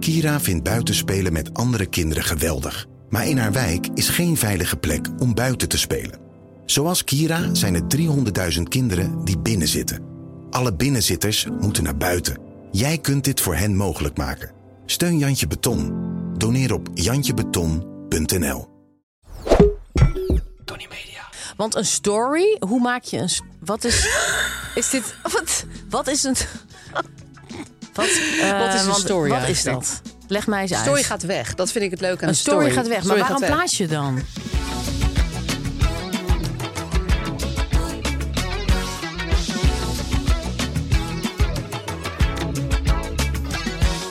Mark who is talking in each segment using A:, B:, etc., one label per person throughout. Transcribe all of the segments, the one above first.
A: Kira vindt buitenspelen met andere kinderen geweldig. Maar in haar wijk is geen veilige plek om buiten te spelen. Zoals Kira zijn er 300.000 kinderen die binnenzitten. Alle binnenzitters moeten naar buiten. Jij kunt dit voor hen mogelijk maken. Steun Jantje Beton. Doneer op jantjebeton.nl.
B: Tony Media.
C: Want een story, hoe maak je een. s- Wat is. Is dit. Wat, wat is een. Wat, eh,
B: Wat is een
C: want-
B: story
C: Wat is
B: eigenlijk?
C: dat? Leg mij eens
B: De
C: uit.
B: story gaat weg. Dat vind ik het leuk aan
C: een
B: de
C: story, gaat weg. Maar
B: Story
C: waarom
B: gaat weg.
C: plaats je dan?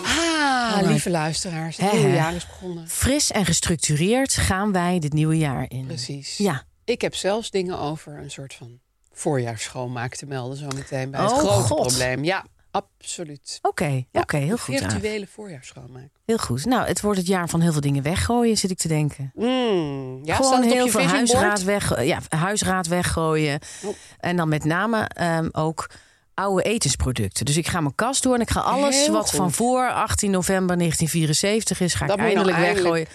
B: Ah, lieve luisteraars. Het
C: Oh, Hè,
B: nieuwe
C: hè.
B: jaar is begonnen.
C: Fris en gestructureerd gaan wij dit nieuwe jaar in.
B: Precies.
C: Ja.
B: Ik heb zelfs dingen over een soort van voorjaarsschoonmaak te melden zo meteen bij het
C: Oh,
B: grote
C: God.
B: probleem. Ja, absoluut.
C: Oké,
B: Ja,
C: oké, heel goed. Aaf.
B: Virtuele voorjaarsschoonmaak.
C: Heel goed. Nou, het wordt het jaar van heel veel dingen weggooien, zit ik te denken.
B: Mm, ja, staat
C: Gewoon
B: het op
C: heel
B: je
C: veel
B: vision board?
C: huisraad, weg, eh, ja, huisraad weggooien.
B: Oh.
C: En dan met name ehm, ook oude etensproducten. Dus ik ga mijn kast door en ik ga alles
B: Heel
C: wat
B: goed.
C: van voor 18 november 1974 is, ga
B: Dat
C: ik
B: moet je nou
C: eindelijk weggooien.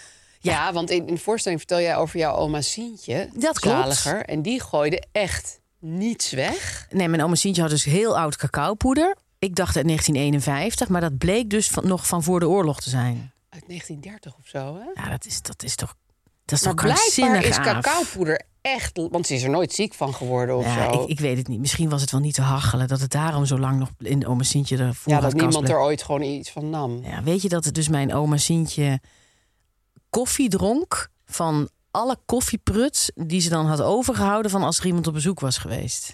B: Ja, want in, in de voorstelling vertel jij over jouw oma Sientje.
C: Dat klopt.
B: zaliger, En die gooide echt niets weg.
C: Nee, mijn oma Sientje had dus heel oud cacaopoeder. Ik dacht uit 1951, maar dat bleek dus van, nog van voor de oorlog te zijn.
B: Uit 1930 of zo, hè?
C: Ja, dat is, dat is toch... Dat is
B: Maar
C: toch krankzinnig,
B: blijkbaar is
C: Aaf?
B: cacaopoeder echt... Want ze is er nooit ziek van geworden of
C: Ja,
B: zo.
C: ik, ik weet het niet. Misschien was het wel niet te hachelen dat het daarom zo lang nog in de oma Sientje ervoor
B: ja,
C: had
B: dat niemand
C: kastelen.
B: er ooit gewoon iets van nam.
C: Ja, weet je dat het dus mijn oma Sientje koffie dronk van alle koffiepruts die ze dan had overgehouden van als er iemand op bezoek was geweest.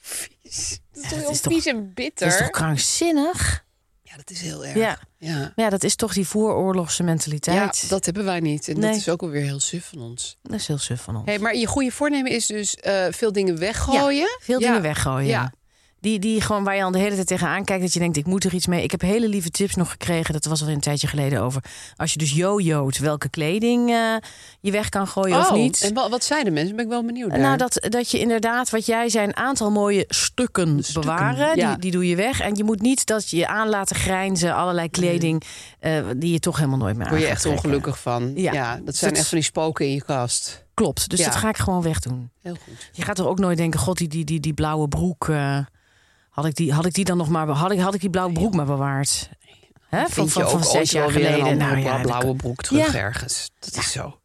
B: Vies. Dat is
C: dat
B: toch heel
C: is toch-
B: vies en
C: Dat
B: bitter?
C: is toch krankzinnig?
B: Ja, dat is heel erg.
C: Ja.
B: Ja.
C: ja, dat is toch die vooroorlogse
B: Ja,
C: mentaliteit.
B: dat hebben wij niet. En dat
C: Nee.
B: is ook alweer heel suf van ons.
C: Dat is heel suf van ons.
B: Hey, maar je goede voornemen is dus eh, veel dingen weggooien.
C: Veel
B: Ja.
C: dingen weggooien.
B: Ja.
C: Die, die gewoon waar je al de hele tijd tegenaan kijkt. Dat je denkt, ik moet er iets mee. Ik heb hele lieve tips nog gekregen. Dat was al een tijdje geleden over. Als je dus jojoot, welke kleding eh, je weg kan gooien of
B: Oh,
C: niet.
B: En wa- wat zeiden mensen? Ben ik wel benieuwd naar.
C: Nou, dat, dat je inderdaad, wat jij zei, een aantal mooie stukken, bewaren.
B: ja.
C: Die, die doe je weg. En je moet niet dat je je aan laten grijnzen. Allerlei kleding eh, die je toch helemaal nooit meer aan
B: Word je
C: gaat
B: echt
C: trekken.
B: ongelukkig van. Ja,
C: Ah, Ja.
B: dat zijn
C: Dat-
B: echt van die spoken in je kast.
C: Klopt, dus
B: Ja.
C: dat ga ik gewoon wegdoen.
B: Heel goed.
C: Je gaat toch ook nooit denken, god, die, die, die, die blauwe broek... eh, had ik, die, had ik die dan nog maar be- had ik, had ik die blauwe broek maar bewaard? Hè?
B: Vind je ook ooit wel weer een
C: Nou
B: andere bla- blauwe broek terug
C: Ja.
B: ergens. Dat is zo.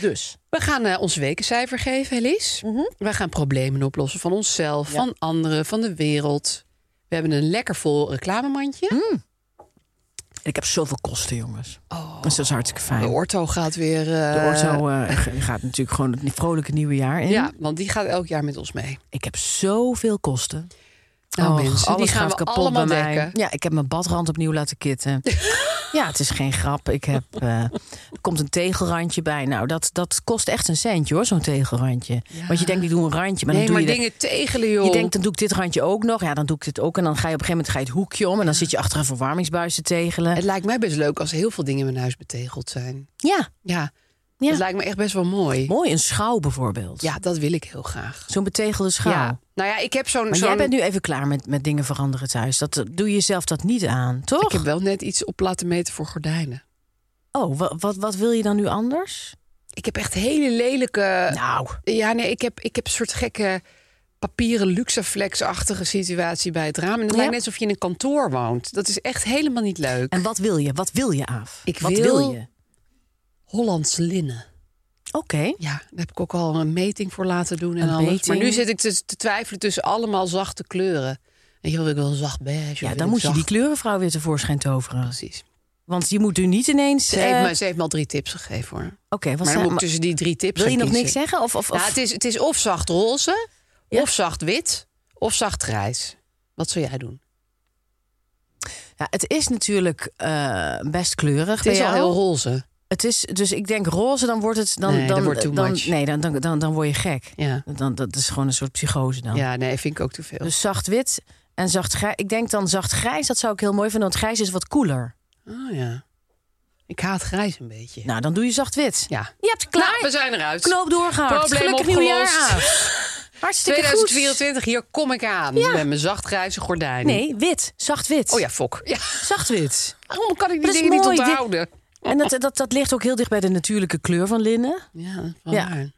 C: Dus.
B: We gaan eh, ons wekencijfer geven, Elise.
C: Mhm.
B: We gaan problemen oplossen van onszelf, van anderen, van de wereld. We hebben een lekker vol reclamemandje.
C: Hm? Ik heb zoveel kosten, jongens. Dus dat is hartstikke fijn.
B: Oh, De
C: De,
B: orto gaat weer... eh,
C: orto eh, g- gaat natuurlijk gewoon het vrolijke nieuwe jaar in.
B: Ja, want die gaat elk jaar met ons mee.
C: Ik heb zoveel kosten.
B: Nou,
C: Och,
B: mensen, die
C: alles
B: gaan
C: gaat
B: we
C: kapot
B: allemaal
C: bij mij.
B: dekken.
C: Ja, ik heb mijn badrand opnieuw laten kitten. ja, het is geen grap. Ik heb, eh, er komt een tegelrandje bij. Nou, dat, dat kost echt een centje hoor, zo'n tegelrandje. Want je denkt, ik doe een randje, maar
B: nee,
C: dan doe
B: maar
C: je de-
B: dingen tegelen, joh.
C: je denkt, dan doe ik dit randje ook nog. Ja, dan doe ik dit ook. En dan ga je op een gegeven moment ga je het hoekje om. En dan zit je achter een verwarmingsbuis te tegelen.
B: Het lijkt mij best leuk als heel veel dingen in mijn huis betegeld zijn.
C: Ja,
B: Ja,
C: Ja.
B: dat lijkt me echt best wel mooi.
C: mooi. Een schouw bijvoorbeeld.
B: Ja, dat wil ik heel graag.
C: Zo'n betegelde schouw.
B: Ja. Nou ja, ik heb zo'n...
C: Maar
B: zo'n-
C: jij bent nu even klaar met, met dingen veranderen thuis. Dat, dat doe je zelf dat niet aan, toch?
B: Ik heb wel net iets op laten meten voor gordijnen.
C: Oh, wa- wat, wat wil je dan nu anders?
B: Ik heb echt hele lelijke...
C: Nou,
B: Ja, nee, ik heb, ik heb een soort gekke papieren luxaflex-achtige situatie bij het raam. En het
C: Ja.
B: lijkt net alsof je in een kantoor woont. Dat is echt helemaal niet leuk.
C: en wat wil je? Wat wil je, Aaf?
B: Ik
C: wat
B: wil-
C: wil je?
B: Hollands linnen.
C: Oké.
B: Ja, daar heb ik ook al een meting voor laten doen en
C: Een
B: alles. Maar
C: meting.
B: nu zit ik te, te twijfelen tussen allemaal zachte kleuren. En joh, wil ik wel zacht beige.
C: Ja, dan moet je die kleurenvrouw weer tevoorschijn toveren.
B: Precies.
C: Want je moet nu niet ineens...
B: Ze,
C: eh,
B: heeft me,
C: Oké,
B: ze heeft me al drie tips gegeven hoor.
C: wat
B: maar dan moet
C: zijn...
B: dus ik
C: maar-
B: tussen die drie tips
C: wil je
B: gaan
C: nog niks
B: kiezen.
C: zeggen? Of, of, of...
B: Nou, het, is, het is of zacht roze, of zacht wit, of zacht grijs. Wat zou jij doen?
C: Ja, het is natuurlijk eh, best kleurig.
B: Het
C: bij
B: is al
C: jou.
B: heel roze.
C: Het is dus ik denk roze, dan wordt het dan
B: Nee, dat
C: dan
B: wordt too
C: dan,
B: much.
C: nee, dan, dan, dan, dan word je gek.
B: Ja.
C: Dan, dat is gewoon een soort psychose dan.
B: ja, nee, vind ik ook te veel.
C: Oh. Dus zacht wit en zacht grijs. Ik denk dan zacht grijs, dat zou ik heel mooi vinden, want grijs is wat koeler.
B: Oh ja. Ik haat grijs een beetje.
C: Nou, dan doe je zacht wit.
B: Ja.
C: Je hebt klaar.
B: Nou, we zijn eruit.
C: Knoop doorgehakt.
B: Probleem
C: Gelukkig nieuwjaar Ah,
B: opgelost.
C: Aaf. Hartstikke goed.
B: 2024, hier kom ik aan.
C: Ja.
B: Met mijn zachtgrijze gordijnen.
C: Nee, wit. Zacht wit.
B: Oh ja, fok. Ja.
C: Zacht wit.
B: Waarom kan ik
C: Maar
B: die
C: dat is
B: dingen niet
C: mooi. Dit-
B: onthouden?
C: En dat, dat, dat ligt ook heel dicht bij de natuurlijke kleur van linnen.
B: Ja, dat is wel
C: Ja.
B: waar.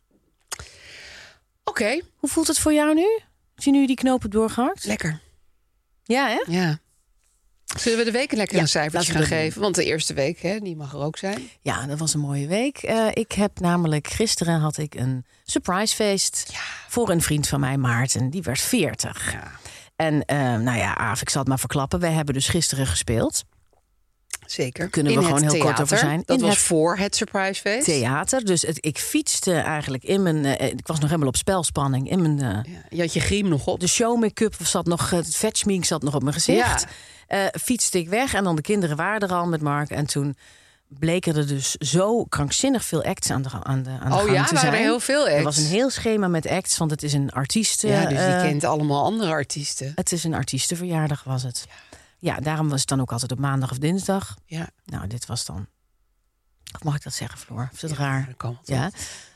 B: Oké,
C: Hoe voelt het voor jou nu? Als je nu die knopen doorgehakt?
B: lekker.
C: Ja, hè?
B: Ja. Zullen we de week een lekker
C: Ja,
B: een cijfertje
C: laten we
B: gaan
C: dat doen.
B: geven? Want de eerste week, hè, die mag er ook zijn.
C: Ja, dat was een mooie week. Eh, ik heb namelijk gisteren had ik een surprisefeest voor een vriend van mij, Maarten. Die werd 40.
B: Ja.
C: En eh, nou ja, Aaf, ik zal het maar verklappen. Wij hebben dus gisteren gespeeld.
B: Zeker.
C: Kunnen we
B: In
C: gewoon
B: het
C: heel kort
B: theater.
C: over zijn.
B: Dat
C: In
B: was
C: het-
B: voor het surprisefeest.
C: Theater. Dus het, ik fietste eigenlijk in mijn. eh, ik was nog helemaal op spelspanning. In mijn. eh,
B: Ja, je had je griem nog op.
C: de show-make-up zat nog, het vetchmink zat nog op mijn gezicht.
B: Ja.
C: Eh, fietste ik weg en dan de kinderen waren er al met Mark. En toen bleken er dus zo krankzinnig veel acts aan de, ga- aan de, aan de
B: oh
C: gang
B: ja,
C: te
B: waren
C: zijn.
B: er heel veel acts.
C: Er was een heel schema met acts, want het is een artiesten...
B: Ja, dus je
C: eh,
B: kent allemaal andere artiesten.
C: Het is een artiestenverjaardag, was het. Ja, daarom was het dan ook altijd op maandag of dinsdag.
B: Ja,
C: Nou, dit was dan... Of mag ik dat zeggen, Floor? Is dat
B: Ja,
C: raar?
B: dat kan wel.
C: Ja.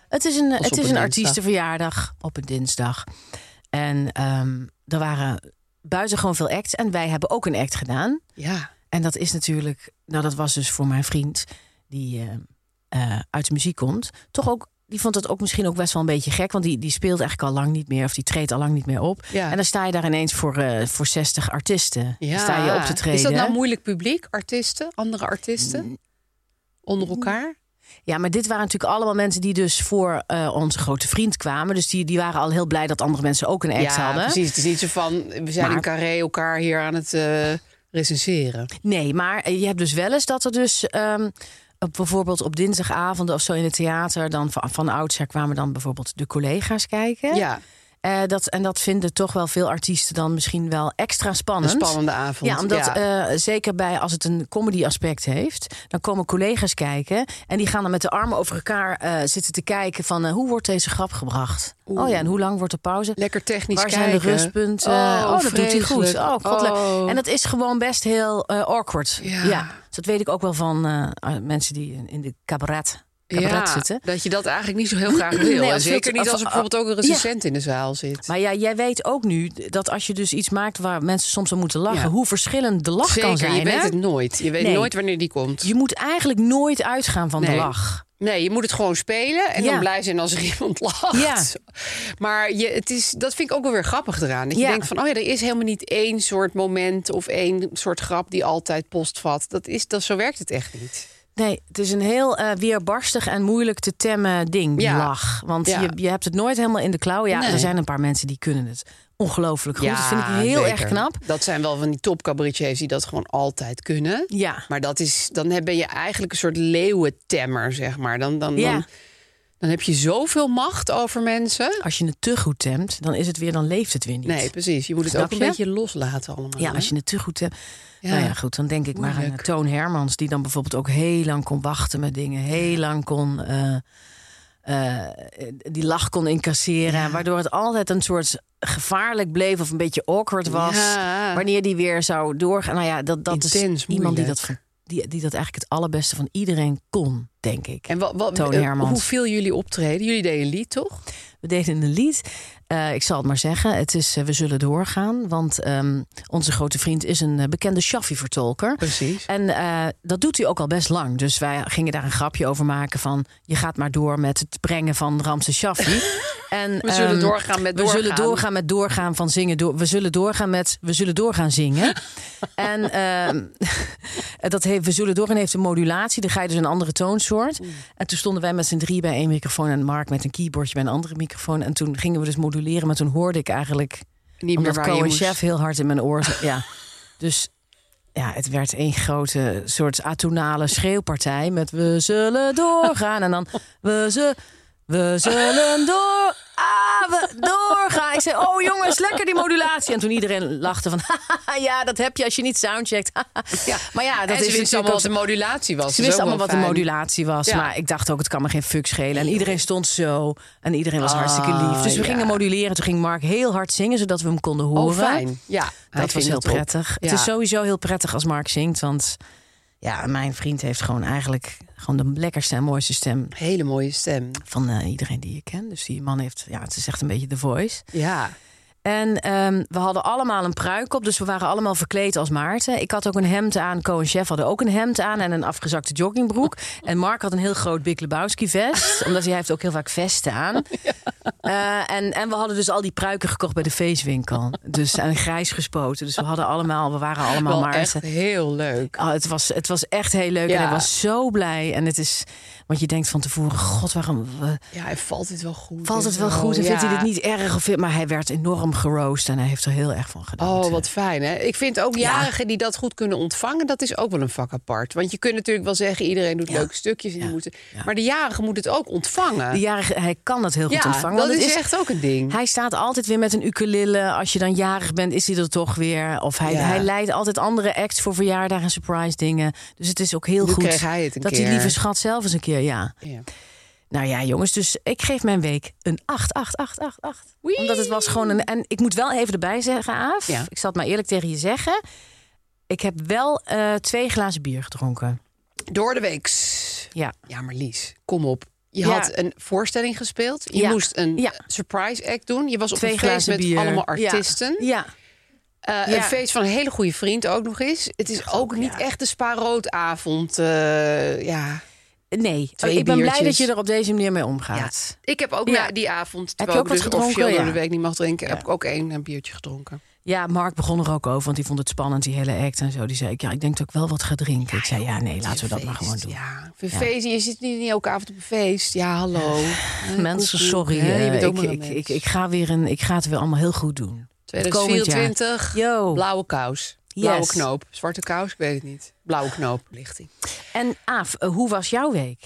C: Het is een,
B: op
C: het
B: een
C: is een
B: dinsdag.
C: artiestenverjaardag op een dinsdag. En ehm, er waren buitengewoon veel acts. En wij hebben ook een act gedaan.
B: Ja.
C: En dat is natuurlijk... Nou, dat was dus voor mijn vriend die eh, eh, uit de muziek komt. Toch ook... Die vond dat ook misschien ook best wel een beetje gek. Want die, die speelt eigenlijk al lang niet meer. Of die treedt al lang niet meer op.
B: Ja.
C: En dan sta je daar ineens voor, eh, voor 60 artiesten.
B: Ja.
C: Sta je op te treden.
B: Is dat nou moeilijk publiek? Artiesten? Andere artiesten? Onder elkaar?
C: Ja, maar dit waren natuurlijk allemaal mensen die dus voor eh, onze grote vriend kwamen. Dus die, die waren al heel blij dat andere mensen ook een act
B: ja,
C: hadden.
B: precies. Het is niet zo van, we zijn
C: Maar-
B: in carré elkaar hier aan het eh, recenseren.
C: Nee, maar je hebt dus wel eens dat er dus... ehm, op- bijvoorbeeld op dinsdagavonden of zo in het theater... dan van, van oudsher kwamen dan bijvoorbeeld de collega's kijken.
B: Ja,
C: Eh, dat, en dat vinden toch wel veel artiesten dan misschien wel extra
B: een
C: spannend.
B: spannende avond.
C: Ja, omdat eh, zeker bij als het een comedy aspect heeft, dan komen collega's kijken en die gaan dan met de armen over elkaar eh, zitten te kijken van eh, hoe wordt deze grap gebracht?
B: Oeh.
C: Oh ja, en hoe lang wordt de pauze?
B: Lekker technisch
C: Waar zijn
B: kijken.
C: de rustpunten?
B: Oh,
C: dat doet hij goed.
B: vreselijk.
C: Oh, goddelijk.
B: Oh.
C: En dat is gewoon best heel eh, awkward.
B: Ja.
C: Dus dat weet ik ook wel van eh, mensen die in de cabaret, cabaret
B: ja,
C: zitten.
B: Dat je dat eigenlijk niet zo heel graag wil.
C: Nee,
B: En
C: als je
B: zeker niet
C: het-
B: als er
C: of-
B: bijvoorbeeld ook een recensent in de zaal zit.
C: Maar ja, jij weet ook nu dat als je dus iets maakt waar mensen soms om moeten lachen,
B: Ja.
C: hoe verschillend de lach
B: zeker,
C: kan zijn.
B: je weet
C: hè?
B: het nooit. Je weet
C: Nee.
B: nooit wanneer die komt.
C: je moet eigenlijk nooit uitgaan van
B: Nee.
C: de lach.
B: Nee, je moet het gewoon spelen en
C: Ja.
B: dan blij zijn als er iemand lacht.
C: Ja.
B: Maar je, het is, dat vind ik ook wel weer grappig eraan. Dat je
C: Ja.
B: denkt van, oh ja, er is helemaal niet één soort moment... of één soort grap die altijd postvat. Dat is, dat, zo werkt het echt niet.
C: Nee, het is een heel eh, weerbarstig en moeilijk te temmen ding, die
B: Ja.
C: lach. Want
B: Ja.
C: je, je hebt het nooit helemaal in de klauw. Ja,
B: Nee.
C: er zijn een paar mensen die kunnen het ongelooflijk goed. dat vind ik heel
B: zeker.
C: erg knap.
B: Dat zijn wel van die topcabaretiers die dat gewoon altijd kunnen.
C: Ja.
B: Maar dat is, dan heb- ben je eigenlijk een soort leeuwentemmer, zeg maar. Dan, dan,
C: Ja.
B: dan, dan heb je zoveel macht over mensen.
C: Als je het te goed temt, dan is het weer, dan leeft het weer niet.
B: Nee, precies. Je moet het
C: Snap
B: ook een
C: je?
B: beetje loslaten allemaal.
C: Ja,
B: hè?
C: als je het te goed hebt.
B: Ja.
C: Nou ja, goed, dan denk ik maar aan
B: Moeilijk.
C: eh, Toon Hermans, die dan bijvoorbeeld ook heel lang kon wachten met dingen, heel lang kon. eh, eh, die lach kon incasseren, waardoor het altijd een soort gevaarlijk bleef of een beetje awkward was.
B: Ja.
C: Wanneer die weer zou doorgaan. Nou ja, dat, dat is
B: Intens,
C: iemand die
B: moeilijk.
C: dat, van- die, die dat eigenlijk het allerbeste van iedereen kon, denk ik.
B: En wat, wat,
C: Toon
B: eh,
C: Hermans.
B: hoe viel jullie optreden? Jullie deden een lied, toch?
C: We deden een lied. Eh, ik zal het maar zeggen. Het is eh, We zullen doorgaan. Want ehm, onze grote vriend is een eh, bekende Shaffi-vertolker.
B: Precies.
C: En eh, dat doet hij ook al best lang. Dus wij gingen daar een grapje over maken van... je gaat maar door met het brengen van Ramses Shaffi. en,
B: We zullen
C: ehm,
B: doorgaan met
C: We zullen
B: doorgaan.
C: doorgaan met doorgaan van zingen. Door, we zullen doorgaan met... We zullen doorgaan zingen. en ehm, dat heeft, we zullen doorgaan heeft een modulatie. Dan ga je dus een andere toonsoort. En toen stonden wij met z'n drie bij één microfoon... en Mark met een keyboardje bij een andere microfoon. En toen gingen we dus moduleren. Maar toen hoorde ik eigenlijk...
B: Niet meer
C: Omdat
B: waar je
C: Cohen
B: moest.
C: Chef heel hard in mijn oor zat. ja. Dus ja, het werd één grote soort atonale schreeuwpartij met we zullen doorgaan. En dan we, ze, we zullen door, ah, we doorgaan. Ik zei, oh jongens, lekker die modulatie. En toen iedereen lachte van, ja, dat heb je als je niet soundcheckt. ja. Maar ja, dat
B: en ze
C: is
B: wist
C: natuurlijk
B: allemaal
C: ook
B: wat de modulatie was. Dat
C: ze
B: is
C: wisten
B: ook
C: allemaal wat
B: wel
C: de
B: fijn.
C: modulatie was.
B: Ja.
C: Maar ik dacht ook, het kan me geen fuck schelen. En iedereen stond zo. En iedereen was hartstikke lief. Dus we
B: Ah, ja.
C: gingen moduleren. Toen ging Mark heel hard zingen, zodat we hem konden horen. Ah,
B: Oh, fijn. Ja, hij
C: Dat was
B: vindt
C: heel
B: het op.
C: prettig. Het
B: Ja.
C: is sowieso heel prettig als Mark zingt. Want Ja, mijn vriend heeft gewoon eigenlijk gewoon de lekkerste en mooiste stem
B: Hele mooie stem.
C: van eh, iedereen die ik ken. Dus die man heeft, ja, het is echt een beetje de voice.
B: Ja.
C: En ehm, we hadden allemaal een pruik op, dus we waren allemaal verkleed als Maarten. Ik had ook een hemd aan, Co en Chef hadden ook een hemd aan en een afgezakte joggingbroek. En Mark had een heel groot Big Lebowski vest, omdat hij heeft ook heel vaak vesten aan. Eh, en, en we hadden dus al die pruiken gekocht bij de feestwinkel. Dus en grijs gespoten, dus we hadden allemaal, we waren allemaal
B: Wel
C: Maarten.
B: echt heel leuk.
C: Ah, het, was, het was echt heel leuk
B: Ja.
C: en ik was zo blij. En het is, want je denkt van tevoren, god, waarom wa-
B: Ja, en valt dit Dus wel goed?
C: valt
B: en
C: het wel
B: zo?
C: goed? En vindt hij
B: Ja.
C: dit niet erg? Of, vindt- maar hij werd enorm geroost en hij heeft er heel erg van gedaan.
B: Oh, wat fijn hè. Ik vind ook jarigen die dat goed kunnen ontvangen, dat is ook wel een vak apart. Want je kunt natuurlijk wel zeggen, iedereen doet
C: Ja.
B: leuke stukjes. En die
C: Ja.
B: moeten...
C: Ja.
B: Maar de jarige moet het ook ontvangen.
C: De jarige, hij kan dat heel goed
B: ja,
C: ontvangen.
B: dat
C: want
B: is,
C: het
B: echt ook een ding.
C: Hij staat altijd weer met een ukulele. Als je dan jarig bent, is hij er toch weer. Of hij,
B: Ja.
C: hij leidt altijd andere acts voor verjaardag en surprise dingen. Dus het is ook heel
B: Nu
C: goed
B: kreeg hij het een
C: dat
B: keer.
C: die lieve schat zelf eens een keer, ja.
B: Ja.
C: Nou ja, jongens, dus ik geef mijn week een 8, 8, 8, 8, 8.
B: Wee!
C: Omdat het was gewoon een... En ik moet wel even erbij zeggen, Aaf.
B: Ja.
C: Ik zal het maar eerlijk tegen je zeggen. Ik heb wel eh, twee glazen bier gedronken.
B: Door de weeks.
C: Ja.
B: Ja, maar Lies, kom op. Je
C: Ja.
B: had een voorstelling gespeeld. Je
C: Ja.
B: moest een
C: Ja.
B: surprise act doen. Je was op
C: Twee
B: een feest
C: glazen
B: met
C: bier.
B: allemaal
C: Ja.
B: artiesten.
C: Ja.
B: Eh,
C: Ja.
B: Een feest van een hele goede vriend ook nog eens. Het is ook niet
C: ja.
B: echt de spaarroodavond. eh ja.
C: Nee.
B: Twee
C: ik ben blij dat
B: biertjes.
C: je er op deze manier mee omgaat.
B: Ik heb ook
C: Ja.
B: na die avond,
C: Heb
B: terwijl
C: je
B: ik
C: ook
B: dus
C: wat
B: officieel
C: gedronken?
B: door de
C: Ja.
B: week niet mag drinken...
C: Ja.
B: heb ik ook één een biertje gedronken.
C: Ja, Mark begon er ook over, want die vond het spannend, die hele act en zo. Die zei, ik, ja, ik denk dat ik wel wat ga drinken. ik zei, ja, nee, laten we dat maar
B: Feest,
C: gewoon doen.
B: Ja, Een feest. Je zit niet, niet elke avond op een feest. Ja, hallo. Eh,
C: Mensen,
B: koekoek,
C: sorry,
B: hè, je
C: eh,
B: bent ook
C: ik,
B: maar een
C: ik,
B: mens.
C: ik, ik ga weer een, ik ga het weer allemaal heel goed doen. Het komend jaar.
B: 2024,
C: Yo.
B: blauwe kous. Blauwe
C: Yes.
B: knoop. Zwarte kous, ik weet het niet. Blauwe knoop, lichting.
C: En Aaf, eh, hoe was jouw week?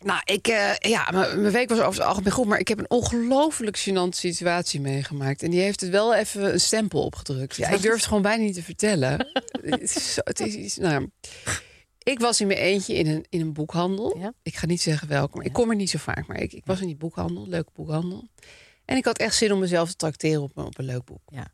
B: Nou, ik, eh, ja, mijn mijn week was over het algemeen goed. Maar ik heb een ongelooflijk gênante situatie meegemaakt. En die heeft het wel even een stempel opgedrukt. Ja, ik durf het gewoon bijna niet te vertellen. het, is zo, het is iets... Nou, ja. ik was in mijn eentje in een, in een boekhandel.
C: Ja.
B: Ik ga niet zeggen welke, maar ik kom er niet zo vaak. Maar ik, ik was in die boekhandel, leuke boekhandel. En ik had echt zin om mezelf te tracteren op, een- op een leuk boek.
C: Ja.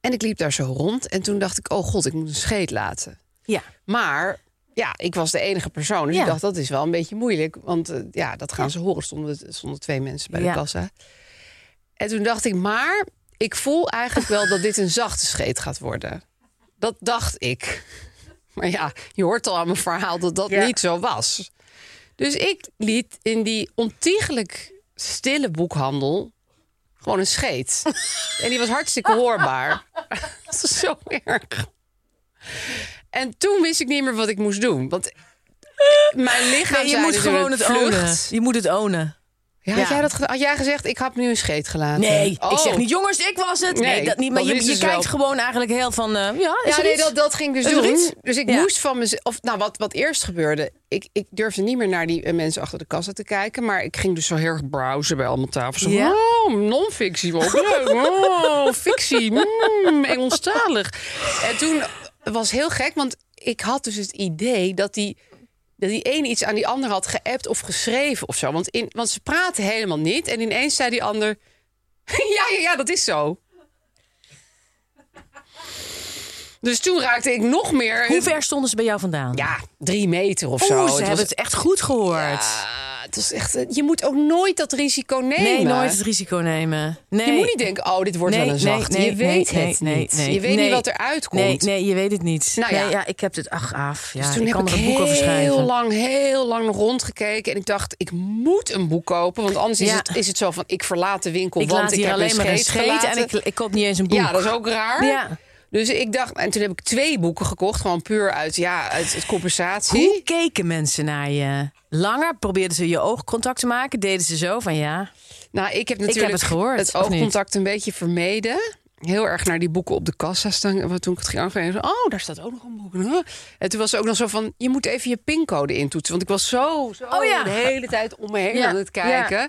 B: En ik liep daar zo rond. En toen dacht ik, oh god, ik moet een scheet laten.
C: Ja.
B: Nou, Maar ja, ik was de enige persoon. Dus
C: Ja.
B: ik dacht, dat is wel een beetje moeilijk. Want eh, ja, dat gaan ze horen. Stonden, stonden twee mensen bij
C: Ja.
B: de kassa. En toen dacht ik, maar ik voel eigenlijk wel dat dit een zachte scheet gaat worden. Dat dacht ik. Maar ja, je hoort al aan mijn verhaal dat dat
C: Ja.
B: niet zo was. Dus ik liet in die ontiegelijk stille boekhandel gewoon een scheet. en die was hartstikke hoorbaar. dat is zo erg. En toen wist ik niet meer wat ik moest doen. Want mijn lichaam
C: Nee, je
B: zei
C: moet
B: natuurlijk,
C: gewoon het ownen.
B: vlucht.
C: Je moet het ownen.
B: Ja, had,
C: Ja.
B: jij dat, ge- had jij gezegd, ik heb nu een scheet gelaten?
C: Nee, ik
B: Oh.
C: zeg niet, jongens, ik was het. Nee,
B: Nee,
C: dat niet. Maar
B: dat
C: je,
B: is
C: je
B: dus
C: kijkt
B: wel.
C: gewoon eigenlijk heel van, eh, ja, is
B: ja,
C: er
B: nee,
C: iets?
B: dat, dat ging ik dus
C: Is er iets?
B: doen. Dus ik
C: Ja.
B: moest van mezelf. Of nou, wat, wat eerst gebeurde. Ik, ik durfde niet meer naar die eh, mensen achter de kassa te kijken. Maar ik ging dus zo heel erg browsen bij allemaal tafels. Zo,
C: Ja.
B: Oh, non-fictie. Wat leuk. Oh, fictie. Mm, Engelstalig. En toen was heel gek, want ik had dus het idee dat die. Dat die een iets aan die ander had geappt of geschreven of zo. Want, in, want ze praten helemaal niet. En ineens zei die ander. Ja, ja, ja, dat is zo. Dus toen raakte ik nog meer.
C: Hoe ver stonden ze bij jou vandaan?
B: Ja, drie meter of
C: Oeh,
B: zo.
C: ze
B: was-
C: hebben het echt goed gehoord.
B: Ja, het was echt. eh, Je moet ook nooit dat risico nemen.
C: nee, nooit het risico nemen. Nee.
B: Je moet niet denken, oh, dit wordt
C: Nee,
B: wel een zacht.
C: nee, nee,
B: je weet
C: nee,
B: het
C: nee,
B: niet.
C: nee,
B: je weet
C: nee.
B: niet wat eruit komt.
C: Nee, nee, je weet het niet.
B: Nou
C: nee,
B: ja.
C: ik heb dit, ach, af. Ja,
B: Dus toen
C: ik
B: heb
C: kan
B: ik
C: er een boek over schrijven.
B: heel lang, heel lang nog rondgekeken. En ik dacht, ik moet een boek kopen. Want anders is,
C: Ja.
B: het, is het zo van, ik verlaat de winkel,
C: Ik
B: want
C: laat
B: ik
C: hier
B: heb
C: alleen maar een
B: scheet
C: scheet en
B: gelaten.
C: ik, ik koop niet eens een boek.
B: Ja, dat is ook raar.
C: Ja.
B: Dus ik dacht, en toen heb ik twee boeken gekocht. Gewoon puur uit, ja, uit, uit compensatie.
C: Hoe keken mensen naar je? Langer probeerden ze je oogcontact te maken? Deden ze zo van ja?
B: Nou, ik heb natuurlijk
C: het gehoord, of niet?
B: oogcontact een beetje vermeden. Heel erg naar die boeken op de kassa staan. Want Toen ik het ging aangeven, oh, daar staat ook nog een boek. Huh? En toen was ze ook nog zo van, je moet even je pincode intoetsen. Want ik was zo, zo
C: Oh ja.
B: de hele tijd om me heen
C: Ja,
B: aan het kijken.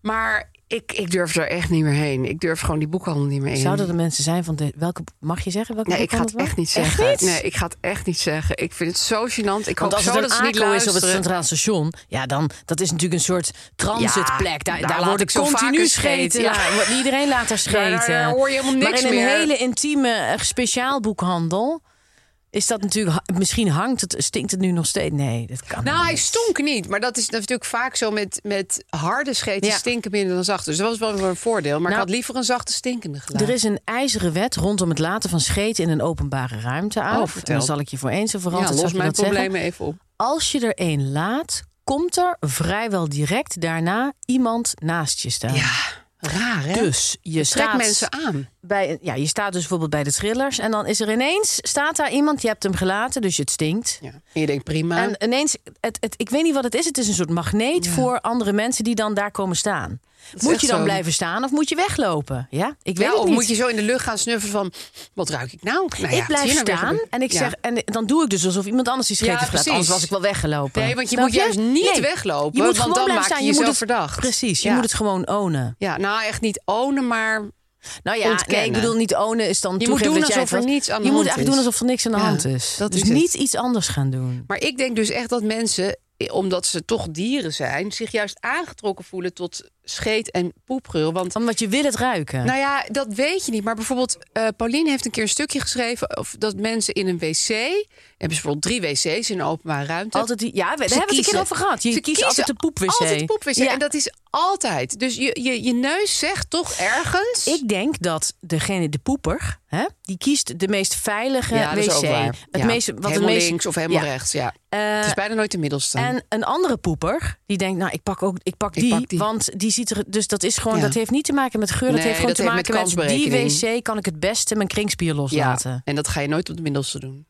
B: Maar ik, ik durf er echt niet meer heen. Ik durf gewoon die boekhandel niet meer in.
C: Zouden er mensen zijn van de, welke mag je zeggen? Welke
B: Nee, ik
C: boek
B: ga
C: kan
B: het echt niet
C: was?
B: zeggen.
C: Echt niet?
B: Nee, ik ga het echt niet zeggen. Ik vind het zo gênant. Ik
C: Want
B: hoop
C: als het
B: zo
C: een
B: dat ze niet
C: ACO is op het
B: luisteren.
C: Centraal Station, ja, dan dat is natuurlijk een soort transitplek. Daar,
B: Ja, daar
C: daar
B: laat
C: wordt
B: ik zo vaak
C: continu
B: een
C: scheten.
B: scheet,
C: Ja. wordt Iedereen laat daar scheten.
B: Daar- daar hoor je helemaal niks
C: maar in een
B: meer.
C: hele intieme eh, speciaal boekhandel. is dat natuurlijk... ha- Misschien hangt het, stinkt het nu nog steeds. Nee, dat kan
B: Nou,
C: niet.
B: hij stonk niet. Maar dat is natuurlijk vaak zo met, met harde scheten
C: Ja.
B: stinken minder dan zachte. Dus dat was wel weer een voordeel. Maar
C: Nou,
B: ik had liever een zachte stinkende
C: Er
B: gelaten.
C: is een ijzeren wet rondom het laten van scheten in een openbare ruimte
B: Oh,
C: af.
B: vertel.
C: en dan zal ik je voor eens en voor altijd
B: ja,
C: zal
B: los
C: ik je
B: mijn
C: dat zeggen.
B: problemen even op.
C: Als je er één laat, komt er vrijwel direct daarna iemand naast je staan.
B: Ja, raar hè?
C: Dus je
B: Trek
C: staat,
B: mensen aan.
C: bij, ja, je staat dus bijvoorbeeld bij de thrillers. En dan is er ineens, staat daar iemand, je hebt hem gelaten, dus het stinkt.
B: Ja. En je denkt prima.
C: En ineens, het, het, ik weet niet wat het is. Het is een soort magneet voor andere mensen die dan daar komen staan. Moet
B: echt
C: je dan
B: zo.
C: blijven staan of moet je weglopen? Ja, ik weet
B: ja,
C: het
B: of
C: niet.
B: moet je zo in de lucht gaan snuffelen van, wat ruik ik nou? Nou ja,
C: ik blijf
B: zie je nou weer
C: staan
B: gebeuren?
C: en ik
B: Ja.
C: zeg en dan doe ik dus alsof iemand anders die scheten
B: Ja,
C: verlaat.
B: precies.
C: Anders was ik wel weggelopen.
B: Nee, want je
C: Snap
B: moet juist niet
C: Nee.
B: weglopen,
C: Je moet
B: want
C: gewoon
B: dan
C: blijven
B: maak je
C: staan.
B: jezelf
C: moet het,
B: verdacht.
C: Precies. Je
B: Ja.
C: moet het gewoon ownen.
B: Ja, nou echt niet ownen, maar
C: Nou ja, nee,
B: Ontkennen.
C: ik bedoel niet ownen is dan
B: moet
C: toegeven
B: doen
C: dat jij
B: alsof
C: het
B: er
C: was.
B: niets aan de
C: Je moet
B: hand
C: eigenlijk doen
B: is.
C: alsof er niks aan de
B: Ja,
C: hand is.
B: dat
C: dus
B: is het.
C: niet iets anders gaan doen.
B: Maar ik denk dus echt dat mensen, eh, omdat ze toch dieren zijn, zich juist aangetrokken voelen tot scheet en poepgeur. Want
C: Omdat je wil het ruiken.
B: nou ja, dat weet je niet. Maar bijvoorbeeld, eh, Pauline heeft een keer een stukje geschreven of dat mensen in een wc, hebben ze bijvoorbeeld drie wc's in een openbare ruimte.
C: altijd die, ja, we- daar
B: Ze
C: hebben we het een keer
B: kiezen.
C: over gehad. Je
B: Ze
C: kiest altijd de poepwc.
B: Altijd de poepwc.
C: Ja.
B: En dat is altijd. Dus je, je, je neus zegt toch ergens.
C: Ik denk dat degene, de poeper, hè, die kiest de meest veilige
B: ja,
C: eh, wc.
B: dat is ook waar.
C: Het
B: Ja.
C: meeste, wat
B: helemaal
C: het meest,
B: links of helemaal
C: ja.
B: rechts. Ja.
C: Eh,
B: het is bijna nooit de middelstand.
C: En een andere poeper, die denkt, nou, ik pak ook ik pak
B: Ik
C: die,
B: pak die.
C: want die ziet er. Dus dat is gewoon,
B: Ja.
C: dat heeft niet te maken met geur. dat
B: Nee,
C: heeft gewoon
B: dat
C: te
B: heeft
C: maken
B: met
C: met, die
B: kansberekening.
C: wc kan ik het beste mijn kringspier
B: ja.
C: loslaten.
B: en dat ga je nooit op de middelste doen.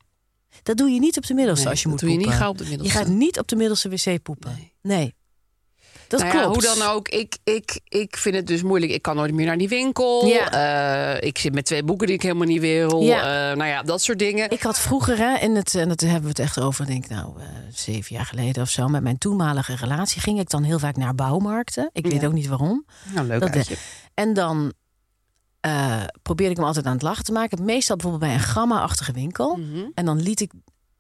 C: Dat doe je niet op de middelste
B: Nee,
C: als je
B: dat
C: moet
B: doe je
C: poepen.
B: niet gauw op Nou de
C: je
B: middelste.
C: gaat niet op de middelste wc poepen. Nee. Dat
B: Nou ja,
C: klopt.
B: hoe dan ook, ik, ik, ik vind het dus moeilijk. Ik kan nooit meer naar die winkel. Eh, ik zit met twee boeken die ik helemaal niet wil.
C: Ja.
B: Eh, nou ja, dat soort dingen.
C: Ik had vroeger, hè, in het, en dat hebben we het echt over, denk ik, nou, eh, zeven jaar geleden of zo, met mijn toenmalige relatie ging ik dan heel vaak naar bouwmarkten. Ik weet
B: Ja.
C: ook niet waarom.
B: nou, leuk
C: dat-
B: uitje.
C: En dan eh, probeerde ik hem altijd aan het lachen te maken. Meestal bijvoorbeeld bij een gamma-achtige winkel.
B: Mhm.
C: En dan liet ik,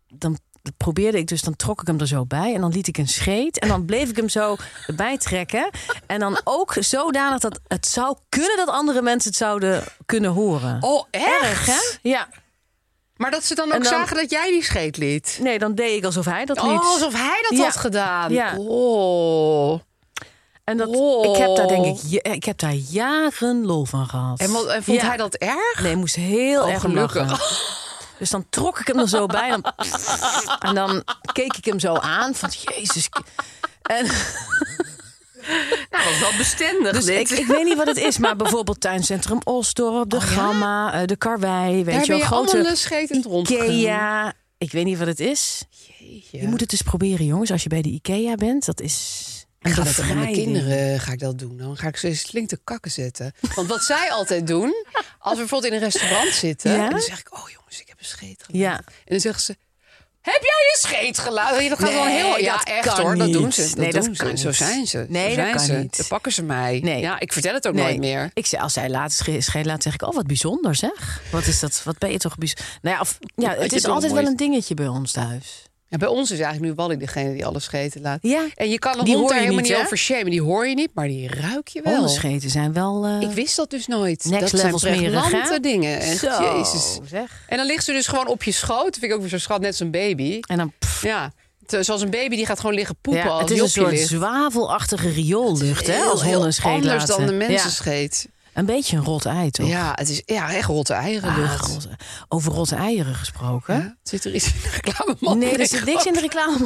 C: dan probeerde ik dus, dan trok ik hem er zo bij. En dan liet ik een scheet. En dan bleef ik hem zo erbij trekken. En dan ook zodanig dat het zou kunnen dat andere mensen het zouden kunnen horen.
B: Oh, echt?
C: hè? Ja.
B: Maar dat ze dan
C: En
B: ook
C: dan-
B: zagen dat jij die scheet liet.
C: Nee, dan deed ik alsof hij dat liet.
B: Oh, alsof hij dat
C: Ja.
B: had gedaan.
C: Ja.
B: Oh.
C: En dat,
B: Oh.
C: ik heb daar denk ik, ja- ik heb daar jaren lol van gehad.
B: En, wat, en vond
C: Ja.
B: hij dat erg?
C: Nee, ik moest heel
B: Oh,
C: erg om
B: gelukkig.
C: lachen. Dus dan trok ik hem er zo bij. En dan, en dan keek ik hem zo aan. Van, jezus. En,
B: Nou, dat is wel bestendig.
C: dus ik,
B: dit.
C: ik weet niet wat het is. Maar bijvoorbeeld Tuincentrum Osdorp, de
B: Oh, ja?
C: Gamma, eh, de Karwei. Weet
B: Daar
C: je wel,
B: ben je allemaal
C: grote
B: een scheet in het rond gegaan.
C: Ikea. Ik weet niet wat het is.
B: Jeetje.
C: Je moet het eens proberen, jongens. Als je bij de Ikea bent, dat is een
B: Ik ga dat aan mijn
C: bevrijding.
B: kinderen eh, ga ik dat doen. Dan ga ik ze eens flink te kakken zetten. Want wat zij altijd doen, als we bijvoorbeeld in een restaurant zitten...
C: Ja?
B: en dan zeg ik, oh jongens, ik heb een scheet gelaten.
C: Ja.
B: En dan zeggen ze, heb jij een scheet gelaten? Dat gaat wel
C: Nee,
B: heel... Ja,
C: dat
B: echt
C: kan
B: hoor, dat doen
C: niet.
B: ze. Dat
C: Nee, dat
B: doen ze.
C: kan
B: Zo
C: niet.
B: zijn ze.
C: Nee,
B: Zo
C: dat
B: zijn
C: kan
B: ze.
C: niet.
B: Dan pakken ze mij.
C: Nee.
B: Ja, ik vertel het ook nooit meer.
C: Ik zei, als zij laat scheet laat, zeg ik, oh, wat bijzonder zeg. Wat is dat? Wat ben je toch bijzonder? Nou ja, of, ja
B: Wat
C: het
B: je
C: is
B: toch
C: altijd
B: mooi-
C: wel een dingetje bij ons thuis.
B: En bij ons is eigenlijk nu Wally degene die alle scheten laat.
C: Ja,
B: En je kan een
C: Die
B: hond
C: hoor
B: daar
C: je
B: helemaal
C: niet,
B: niet
C: hè?
B: over shamen. Die hoor je niet, maar die ruik je wel.
C: hondenscheten zijn wel... eh
B: Ik wist dat dus nooit.
C: Next
B: dat
C: level
B: zijn
C: smerig, hè?
B: pregnante dingen. Echt,
C: zo,
B: jezus.
C: zeg.
B: En dan ligt ze dus gewoon op je schoot. Dat vind ik ook weer zo schat, net als een baby.
C: En dan... pff,
B: Ja, Te- zoals een baby die gaat gewoon liggen poepen
C: ja,
B: als
C: het
B: die
C: is een
B: op je
C: soort
B: ligt.
C: zwavelachtige rioollucht, hè?
B: Heel,
C: Als
B: heel
C: hondenscheet
B: anders
C: laten.
B: dan de mensen
C: Ja,
B: scheet.
C: een beetje een rot ei, toch?
B: Ja, het is ja, echt rotte eieren
C: Ah,
B: lucht.
C: rotte- over rotte eieren gesproken.
B: Ja, zit er iets in de reclameman?
C: Nee, er zit niks in de reclame.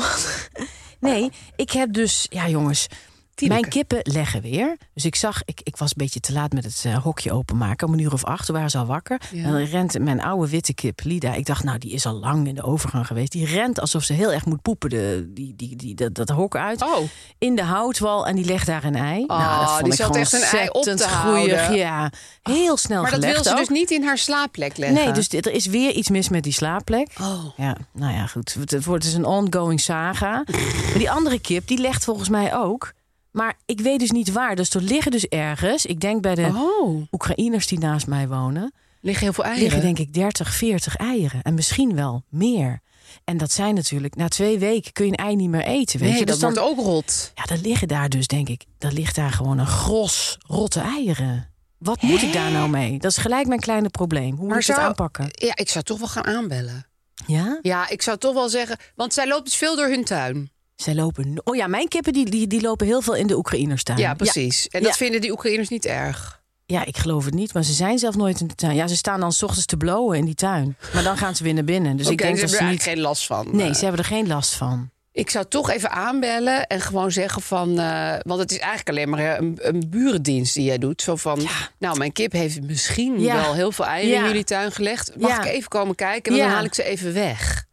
C: Nee, ik heb dus, ja jongens,
B: Tieneke.
C: mijn kippen leggen weer. Dus ik zag, ik, ik was een beetje te laat met het eh, hokje openmaken. Om een uur of acht, toen waren ze al wakker.
B: Ja.
C: En dan rent mijn oude witte kip, Lida. Ik dacht, nou, die is al lang in de overgang geweest. Die rent alsof ze heel erg moet poepen, de, die, die, die, dat, dat hok uit.
B: Oh,
C: In de houtwal en die legt daar een ei.
B: Oh,
C: nou, dat vond
B: die
C: ik
B: zat
C: gewoon
B: echt een ei op te
C: ontzettend groeiig.
B: houden.
C: Ja, heel snel
B: maar dat
C: gelegd
B: wil ze
C: ook.
B: dus niet in haar slaapplek leggen.
C: Nee, dus dit- er is weer iets mis met die slaapplek.
B: Oh.
C: Ja, nou ja, goed. Het, het wordt dus een ongoing saga. Maar die andere kip, die legt volgens mij ook. Maar ik weet dus niet waar. Dus er liggen dus ergens, ik denk bij de
B: Oh,
C: Oekraïners die naast mij wonen,
B: liggen heel veel eieren.
C: liggen denk ik 30, 40 eieren. En misschien wel meer. En dat zijn natuurlijk, na twee weken kun je een ei niet meer eten. Weet
B: nee,
C: je?
B: dat
C: Dus dan,
B: wordt ook rot.
C: ja, dan liggen daar dus, denk ik, dan ligt daar gewoon een gros rotte eieren. Wat moet ik daar nou mee? Dat is gelijk mijn kleine probleem. Hoe moet
B: Maar
C: ik het
B: zou-
C: aanpakken?
B: Ja, ik zou toch wel gaan aanbellen.
C: Ja?
B: Ja, ik zou toch wel zeggen, want zij loopt dus veel door hun tuin.
C: Zij lopen... no- Oh ja, mijn kippen die, die, die lopen heel veel in de Oekraïners tuin.
B: Ja, precies. En dat
C: Ja.
B: vinden die Oekraïners niet erg.
C: Ja, ik geloof het niet, maar ze zijn zelf nooit in de tuin. Ja, ze staan dan 's ochtends te blowen in die tuin. Maar dan gaan ze weer naar binnen. Dus
B: Dus
C: ik denk
B: ze
C: dat
B: hebben
C: ze
B: er
C: niet...
B: eigenlijk geen last van.
C: Nee,
B: Eh,
C: ze hebben er geen last van.
B: Ik zou toch even aanbellen en gewoon zeggen van... eh, want het is eigenlijk alleen maar hè, een, een burendienst die jij doet. Zo van, nou, mijn kip heeft misschien
C: Ja.
B: wel heel veel eieren
C: Ja.
B: in jullie tuin gelegd. Mag
C: Ja.
B: ik even komen kijken? En
C: Ja.
B: dan haal ik ze even weg.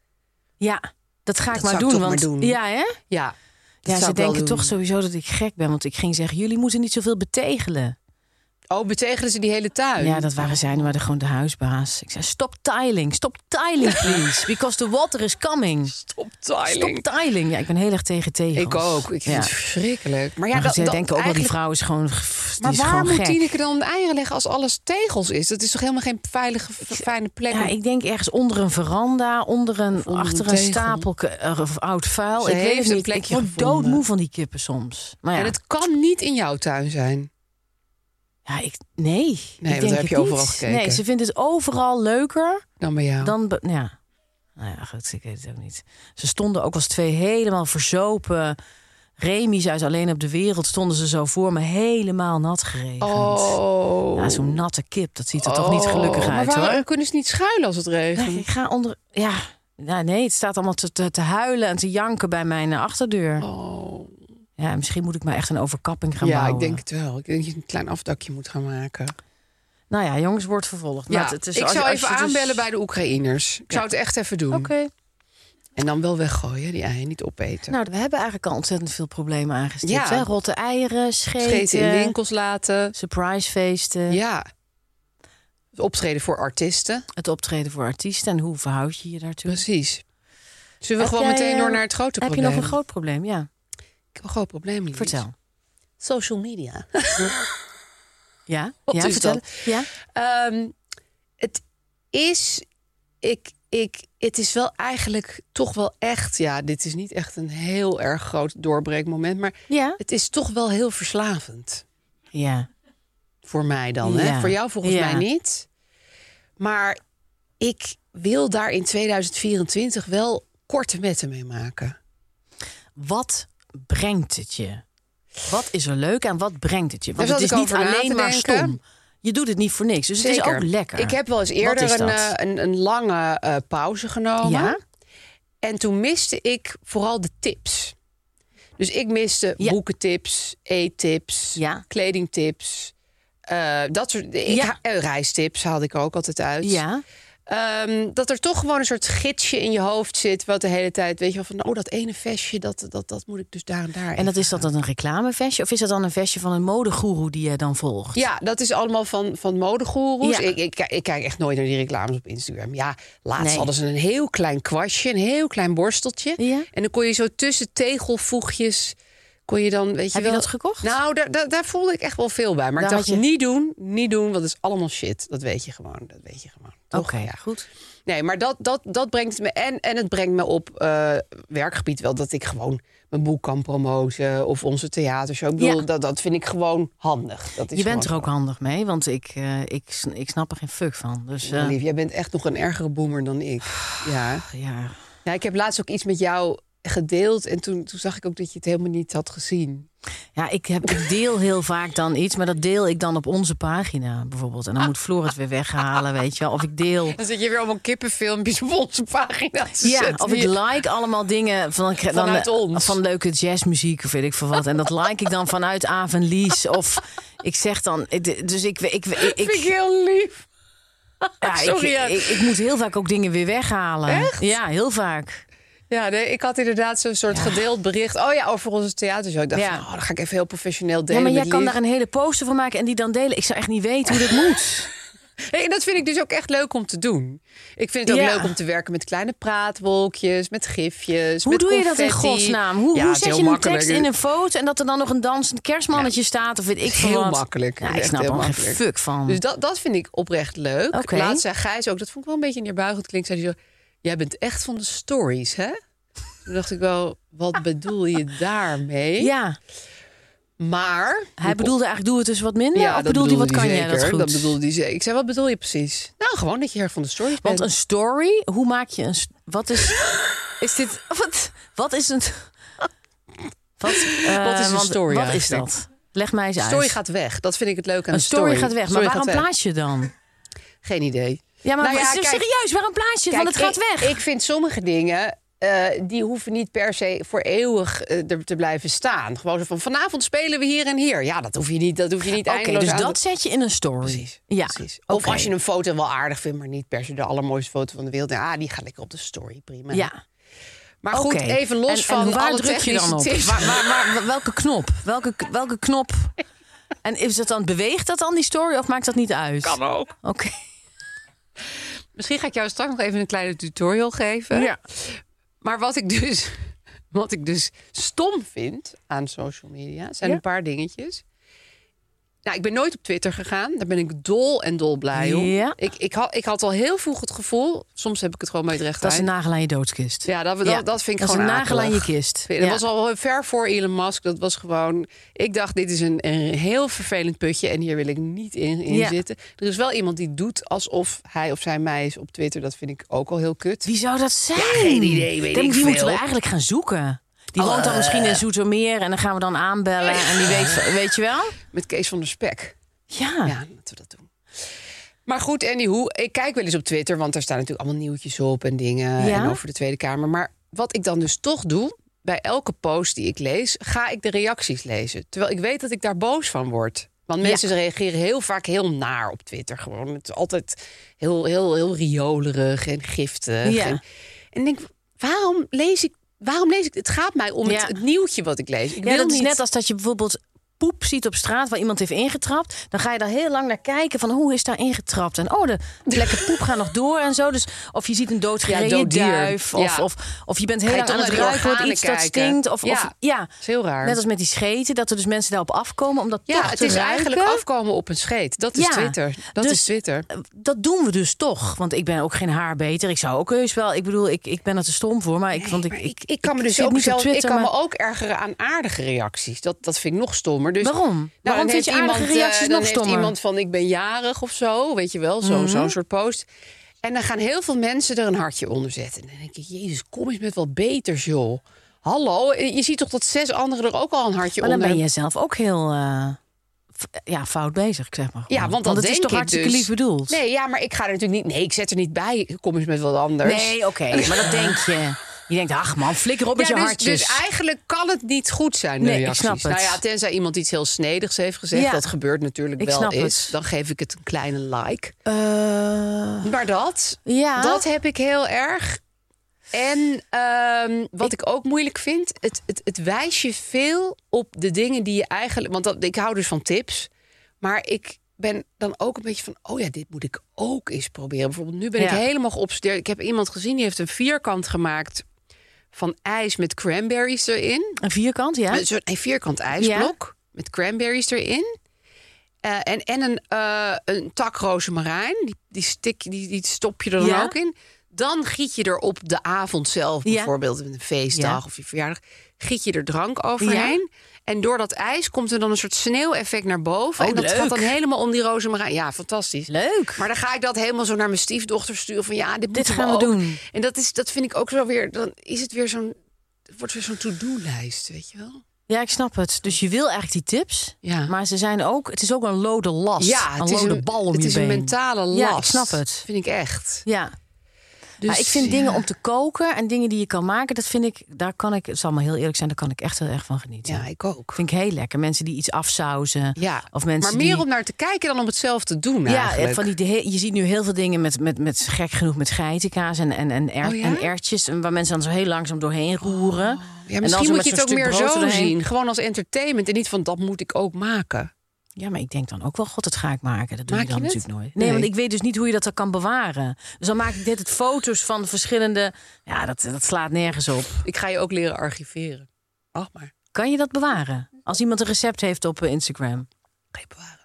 C: Ja, dat ga ik
B: Dat
C: maar
B: zou ik
C: doen.
B: toch
C: want,
B: maar doen.
C: Ja, hè?
B: Ja, dat zou
C: Ja,
B: ik
C: ze
B: wel
C: denken
B: doen.
C: toch sowieso dat ik gek ben. Want ik ging zeggen, jullie moeten niet zoveel betegelen.
B: Oh, betegelen ze die hele tuin?
C: Ja, dat waren zij, maar de, gewoon de huisbaas. Ik zei, stop tiling, stop tiling, please. Because the water is coming.
B: Stop tiling.
C: Stop tiling. Ja, ik ben heel erg tegen tegels.
B: Ik ook. Ik vind
C: ja.
B: het verschrikkelijk. Maar ja,
C: Maar goed,
B: dat,
C: zij
B: dat
C: denken ook wel, die
B: eigenlijk-
C: vrouw is gewoon pff, die
B: Maar
C: is
B: waar
C: gewoon
B: moet
C: gek.
B: Tineke dan eieren leggen als alles tegels is? Dat is toch helemaal geen veilige, v- fijne plek?
C: Ja,
B: om-
C: ik denk ergens onder een veranda, onder een,
B: een
C: achter een
B: tegel.
C: stapel ke- eh, of oud vuil.
B: Ze
C: ik weet
B: heeft
C: het
B: een
C: niet.
B: plekje
C: ik word
B: gevonden.
C: doodmoe van die kippen soms. Maar ja,
B: En het kan niet in jouw tuin zijn.
C: ja ik, nee. Nee, ik
B: want
C: denk
B: daar heb
C: het
B: je overal
C: niet.
B: gekeken.
C: Nee, ze vindt het overal leuker
B: Dan bij jou.
C: dan... be- ja. Nou ja, goed, ik weet het ook niet. Ze stonden ook als twee helemaal verzopen... Remis uit Alleen op de Wereld stonden ze zo voor me helemaal nat geregend.
B: Oh.
C: Ja, zo'n natte kip, dat ziet er toch niet gelukkig
B: Oh,
C: uit
B: maar waarom
C: hoor.
B: kunnen ze niet schuilen als het regent?
C: Nee, ik ga onder. Ja, nou, nee, het staat allemaal te, te, te huilen en te janken bij mijn eh, achterdeur.
B: Oh.
C: Ja, misschien moet ik maar echt een overkapping gaan
B: Ja,
C: bouwen.
B: ik denk het wel. Ik denk dat je een klein afdakje moet gaan maken.
C: Nou ja, jongens, wordt vervolgd.
B: Ja,
C: Maar het is,
B: ik
C: als je-
B: zou
C: als je
B: even
C: dus-
B: aanbellen bij Mm. de Oekraïners. Ik zou het echt even doen.
C: Oké.
B: En dan wel weggooien, die eieren niet opeten.
C: Nou, we hebben eigenlijk al ontzettend veel problemen aangestipt.
B: Ja.
C: hè? Rotte eieren, scheten,
B: Scheten in winkels laten.
C: surprisefeesten,
B: Ja. Het optreden voor artiesten.
C: het optreden voor artiesten. En hoe verhoud je je daartoe?
B: Precies. Zullen we
C: Heb
B: gewoon
C: jij,
B: meteen door
C: eh,
B: naar het grote
C: Heb je
B: probleem?
C: nog een groot probleem? Ja,
B: Ik heb een groot probleem, Lies.
C: vertel.
B: Social media.
C: Ja,
B: Wat
C: ja
B: is
C: vertel.
B: dat?
C: Ja,
B: Ehm, het is, ik, ik, het is wel eigenlijk toch wel echt, ja, dit is niet echt een heel erg groot doorbreekmoment, maar
C: ja.
B: het is toch wel heel verslavend.
C: ja.
B: Voor mij dan, hè?
C: Ja.
B: Voor jou volgens
C: Ja.
B: mij niet. Maar ik wil daar in 2024 wel korte metten mee maken.
C: wat brengt het je? Wat is er leuk en wat brengt het je? Want
B: Daar
C: het is
B: zat ik
C: niet
B: over na
C: alleen
B: te
C: maar
B: denken.
C: stom. Je doet het niet voor niks. Dus het is ook lekker.
B: Ik heb wel eens
C: Wat is
B: eerder een,
C: dat?
B: eh, een, een lange eh, pauze genomen.
C: Ja?
B: En toen miste ik vooral de tips. Dus ik miste
C: Ja.
B: boekentips, eettips,
C: Ja.
B: kledingtips. eh, dat soort ik,
C: Ja.
B: eh, reistips haalde ik er ook altijd uit.
C: Ja,
B: Ehm, dat er toch gewoon een soort gidsje in je hoofd zit. Wat de hele tijd, weet je wel, van oh, dat ene vestje, dat, dat, dat moet ik dus daar en daar.
C: en dat is dat dan een reclamevestje? Of is dat dan een vestje van een modegoeroe die jij dan volgt?
B: Ja, dat is allemaal van, van modegoeroes.
C: Ja.
B: Ik, ik, ik kijk echt nooit naar die reclames op Instagram. Ja, laatst
C: Nee.
B: hadden ze een heel klein kwastje, een heel klein borsteltje.
C: Ja.
B: En dan kon je zo tussen tegelvoegjes... Kon je dan, weet je
C: Heb je
B: wel...
C: dat gekocht?
B: Nou, daar, daar, daar voelde ik echt wel veel bij. Maar
C: Daar
B: ik dacht,
C: had je-
B: niet doen, niet doen, want dat is allemaal shit. Dat weet je gewoon, dat weet je gewoon.
C: Oké,
B: Toch? Ja.
C: goed.
B: Nee, maar dat, dat, dat brengt me. En, en het brengt me op eh, werkgebied wel dat ik gewoon mijn boek kan promoten. Of onze theatershow. Ik bedoel,
C: Ja.
B: dat, dat vind ik gewoon handig. Dat is
C: Je bent er
B: gewoon
C: ook handig mee, want ik, eh, ik, sn- ik snap er geen fuck van. Dus
B: Ja,
C: eh,
B: lief, jij bent echt nog een ergere boemer dan ik. Ja.
C: ja,
B: Nou, ik heb laatst ook iets met jou gedeeld en toen, toen zag ik ook dat je het helemaal niet had gezien.
C: Ja, ik, heb, ik deel heel vaak dan iets, maar dat deel ik dan op onze pagina bijvoorbeeld.
B: Ah.
C: En dan moet Floor het weer weghalen, weet je wel. Of ik deel.
B: Dan zit je weer allemaal kippenfilmpjes op onze pagina te
C: Ja,
B: zetten.
C: of ik like allemaal dingen van, dan,
B: Dus
C: eh,
B: Vanuit ons.
C: van leuke jazzmuziek of weet ik veel wat. En dat like ik dan vanuit Avenlies. Of ik zeg dan, ik- dus ik... ik, ik, ik,
B: vind ik heel lief.
C: ja, ik-
B: sorry, ja.
C: ik, ik moet heel vaak ook dingen weer weghalen.
B: Echt?
C: Ja, heel vaak.
B: Ja, nee, ik had inderdaad zo'n soort gedeeld bericht. Oh ja, over onze theatershow. Ik dacht,
C: Ja.
B: van, oh, dan ga ik even heel professioneel
C: Ja,
B: delen
C: maar jij
B: met
C: kan
B: Lief.
C: daar een hele poster van maken en die dan delen. Ik zou echt niet weten hoe dat moet.
B: Hey, en dat vind ik dus ook echt leuk om te doen. Ik vind het ook
C: Ja.
B: leuk om te werken met kleine praatwolkjes, met gifjes,
C: Hoe
B: met
C: doe je dat in
B: confetti.
C: godsnaam? Hoe,
B: Ja,
C: hoe
B: het is
C: zet
B: heel
C: je een
B: makkelijk.
C: tekst in een foto en dat er dan nog een dansend kerstmannetje staat? Of weet ik veel
B: heel
C: wat?
B: makkelijk.
C: Ja,
B: Het is
C: ik
B: echt
C: snap er
B: heel
C: geen
B: makkelijk.
C: fuck van.
B: Dus dat, dat vind ik oprecht leuk.
C: Mm. Oké.
B: Laatst zei Gijs ook, dat vond ik wel een beetje neerbuigend klinkt. Zei hij zo, jij bent echt van de stories, hè? Toen dacht ik wel, wat bedoel je daarmee?
C: ja,
B: Maar...
C: Hij bedoelde eigenlijk, doe het dus wat minder? of
B: dat
C: bedoelde hij, wat kan
B: bedoelde
C: jij dat goed?
B: zeker. bedoelde hij zeker. Ik zei, wat bedoel je precies? Nou, gewoon dat je erg van de stories
C: Want
B: bent.
C: een story, hoe maak je een... st- Wat is... is dit... Wat, wat is een... Wat, eh,
B: Wat is een
C: want-
B: story
C: Wat is
B: eigenlijk?
C: dat? Leg mij eens
B: Een
C: uit.
B: story gaat weg. Dat vind ik het leuk aan
C: een story, gaat weg. Maar
B: Story
C: waarom
B: gaat weg.
C: plaats je dan?
B: Geen idee.
C: Ja, maar
B: Nou ja,
C: se-
B: kijk-
C: serieus, waarom plaats je het? Want het gaat
B: ik,
C: weg.
B: Ik vind sommige dingen. eh, die hoeven niet per se voor eeuwig eh, er te blijven staan. Gewoon zo van vanavond spelen we hier en hier. Ja, dat hoef je niet. Dat hoef je niet
C: Oké,
B: eindeloos
C: dus
B: aan
C: dat
B: te-
C: zet je in een story.
B: Precies.
C: Ja.
B: Precies. Of
C: oké.
B: als je een foto wel aardig vindt, maar niet per se de allermooiste foto van de wereld. Ja, ah, die gaat lekker op de story, prima.
C: Ja.
B: Maar goed,
C: Oké.
B: even los
C: En-
B: van
C: en waar
B: alle
C: druk je dan
B: technische
C: op?
B: tips.
C: Waar, waar, waar- welke knop? Welke, welke knop? En is dat dan, beweegt dat dan die story of maakt dat niet uit? Kan ook. Oké.
B: Misschien ga ik jou straks nog even een kleine tutorial geven.
C: Ja.
B: Maar wat ik dus, wat ik dus stom vind aan social media zijn
C: Ja.
B: een paar dingetjes. Nou, ik ben nooit op Twitter gegaan. Daar ben ik dol en dol blij om.
C: Ja.
B: Ik, ik, had, ik had al heel vroeg het gevoel. Soms heb ik het gewoon mee het recht
C: Dat is een
B: eind.
C: nagel aan je doodkist.
B: Ja, dat, dat,
C: Ja,
B: dat vind ik
C: dat is
B: gewoon
C: een nagel aan
B: akelig.
C: je kist.
B: Dat
C: Ja.
B: was al ver voor Elon Musk. Dat was gewoon. Ik dacht, dit is een, een heel vervelend putje en hier wil ik niet in, in
C: Ja.
B: zitten. Er is wel iemand die doet alsof hij of zij mij is op Twitter. Dat vind ik ook al heel kut.
C: Wie zou dat zijn?
B: geen idee, weet
C: die
B: ik
C: Die moeten we
B: veel. Oh, eh.
C: eigenlijk gaan zoeken. Die woont dan misschien in Zoetermeer en dan gaan we dan aanbellen. En die weet, weet je wel?
B: Met Kees van der Spek.
C: Ja.
B: Ja, laten we dat doen. Maar goed, anyhow, ik kijk wel eens op Twitter, want daar staan natuurlijk allemaal nieuwtjes op en dingen
C: Ja.
B: en over de Tweede Kamer. Maar wat ik dan dus toch doe, bij elke post die ik lees, ga ik de reacties lezen. Terwijl ik weet dat ik daar boos van word. Want
C: Ja.
B: mensen reageren heel vaak heel naar op Twitter. Gewoon, het is altijd heel, heel, heel riolerig en giftig.
C: Ja.
B: En, en ik denk, waarom lees ik, waarom lees ik? Het gaat mij om
C: Ja.
B: het, het nieuwtje wat ik lees. Ik
C: Ja,
B: wil
C: dat is
B: niet-
C: net als dat je bijvoorbeeld poep ziet op straat waar iemand heeft ingetrapt. Dan ga je daar heel lang naar kijken van hoe is daar ingetrapt. En oh, de lekker poep gaat nog door en zo. Dus of je ziet een doodgereden
B: Ja, dood dier.
C: duif. Of,
B: Ja.
C: of, of je bent heel
B: Ga je
C: lang aan
B: toch
C: het
B: naar die
C: ruiken wat
B: organen
C: iets dat
B: kijken?
C: stinkt. Of, ja. Of,
B: Ja.
C: ja,
B: is heel raar.
C: net als met die scheten. Dat er dus mensen daarop afkomen om dat
B: Ja,
C: toch
B: het
C: te
B: is
C: ruiken.
B: eigenlijk afkomen op een scheet. Dat is
C: Ja,
B: Twitter. Dat
C: dus-
B: is Twitter.
C: Dat doen we dus toch. Want ik ben ook geen haar beter. Ik zou ook heus wel... Ik bedoel, ik, ik ben er te stom voor. Maar ik, want ik,
B: Maar ik, ik kan me dus
C: zit
B: ook
C: niet op
B: zelf,
C: Twitter,
B: ik kan
C: maar-
B: me ook ergeren aan aardige reacties. Dat, dat vind ik nog stommer. Dus,
C: Waarom?
B: Nou,
C: Waarom
B: dan
C: vind je
B: heeft
C: aardige
B: eh,
C: reacties
B: dan
C: nog
B: heeft
C: stommer? Mhm.
B: iemand van ik ben jarig of zo, weet je wel, zo- zo'n soort post. En dan gaan heel veel mensen er een hartje onder zetten. En dan denk ik, jezus, kom eens met wat beters, joh. Hallo, eh, je ziet toch dat zes anderen er ook al een hartje
C: Maar dan
B: onder
C: ben je zelf ook heel eh, f- ja, fout bezig, ik zeg maar.
B: Ja,
C: gewoon.
B: want dat
C: het is
B: denk
C: toch
B: ik
C: hartstikke
B: dus.
C: lief bedoeld?
B: Nee, ja, maar ik ga er natuurlijk niet... Nee, ik zet er niet bij, kom eens met wat anders.
C: Nee, oké, maar dat denk je. Je denkt, ach man, flikker op met
B: Ja,
C: je
B: dus,
C: hartjes.
B: dus eigenlijk kan het niet goed zijn, de
C: Nee, ik
B: reacties.
C: snap het.
B: Nou ja, tenzij iemand iets heel snedigs heeft gezegd.
C: Ja.
B: Dat gebeurt natuurlijk
C: Ik
B: wel
C: snap
B: eens.
C: het.
B: Dan geef ik het een kleine like.
C: Eh,
B: Maar dat,
C: ja,
B: dat heb ik heel erg. En ehm, wat ik, ook moeilijk vind, het, het, het wijst je veel op de dingen die je eigenlijk... Want dat, ik hou dus van tips, maar ik ben dan ook een beetje van... oh ja, dit moet ik ook eens proberen. Bijvoorbeeld nu ben ik
C: Ja.
B: helemaal geobsedeerd. Ik heb iemand gezien, die heeft een vierkant gemaakt van ijs met cranberries erin.
C: een vierkant, ja.
B: Een soort een vierkant ijsblok met cranberries erin. Eh, en en een, eh, een tak rozemarijn. Die, die, stik, die, die stop je er dan
C: Ja.
B: ook in. Dan giet je er op de avond zelf,
C: Ja.
B: bijvoorbeeld een feestdag
C: Ja.
B: of je verjaardag, giet je er drank overheen. En door dat ijs komt er dan een soort sneeuweffect naar boven.
C: Oh,
B: en dat
C: leuk.
B: gaat dan helemaal om die rozemarijn. Ja, fantastisch.
C: Leuk.
B: Maar dan ga ik dat helemaal zo naar mijn stiefdochter sturen. Van ja, dit, moeten
C: gaan we
B: ook.
C: doen.
B: En dat, is, dat vind ik ook zo weer. Dan is het weer zo'n. Het wordt weer zo'n to-do-lijst, weet je wel?
C: Ja, ik snap het. Dus je wil eigenlijk die tips,
B: Ja.
C: maar ze zijn ook, het is ook een lode last. een lode bal om
B: het
C: je
B: is een
C: been.
B: mentale last.
C: Ja, ik snap het.
B: Vind ik echt.
C: Ja,
B: Dus,
C: maar ik vind
B: ja.
C: dingen om te koken en dingen die je kan maken, dat vind ik, daar kan ik, het zal maar heel eerlijk zijn, daar kan ik echt heel erg van genieten.
B: Ja, ik ook.
C: Vind ik heel lekker. Mensen die iets afsauzen.
B: Ja.
C: Of mensen
B: maar meer
C: die...
B: om naar te kijken dan om het zelf te doen
C: Ja,
B: eigenlijk.
C: van die, de he- je ziet nu heel veel dingen met, met, met gek genoeg met geitenkaas en, en, en, er,
B: Oh ja? Oh.
C: en ertjes. en Waar mensen dan zo heel langzaam doorheen roeren.
B: ja,
C: En dan
B: misschien
C: zo
B: moet
C: met
B: je het
C: zo'n
B: ook meer
C: stuk brood
B: zo
C: erheen.
B: zien. Gewoon als entertainment en niet van dat moet ik ook maken.
C: Ja, maar ik denk dan ook wel, god, dat ga ik maken. Dat doe
B: Maak
C: je dan
B: je het?
C: natuurlijk nooit. Nee,
B: Nee.
C: want ik weet dus niet hoe je dat dan kan bewaren. Dus dan maak ik dit het foto's van verschillende... Ja, dat, dat slaat nergens op.
B: Ik ga je ook leren archiveren. Ach maar,
C: Kan je dat bewaren? Als iemand een recept heeft op eh, Instagram.
B: ga je bewaren.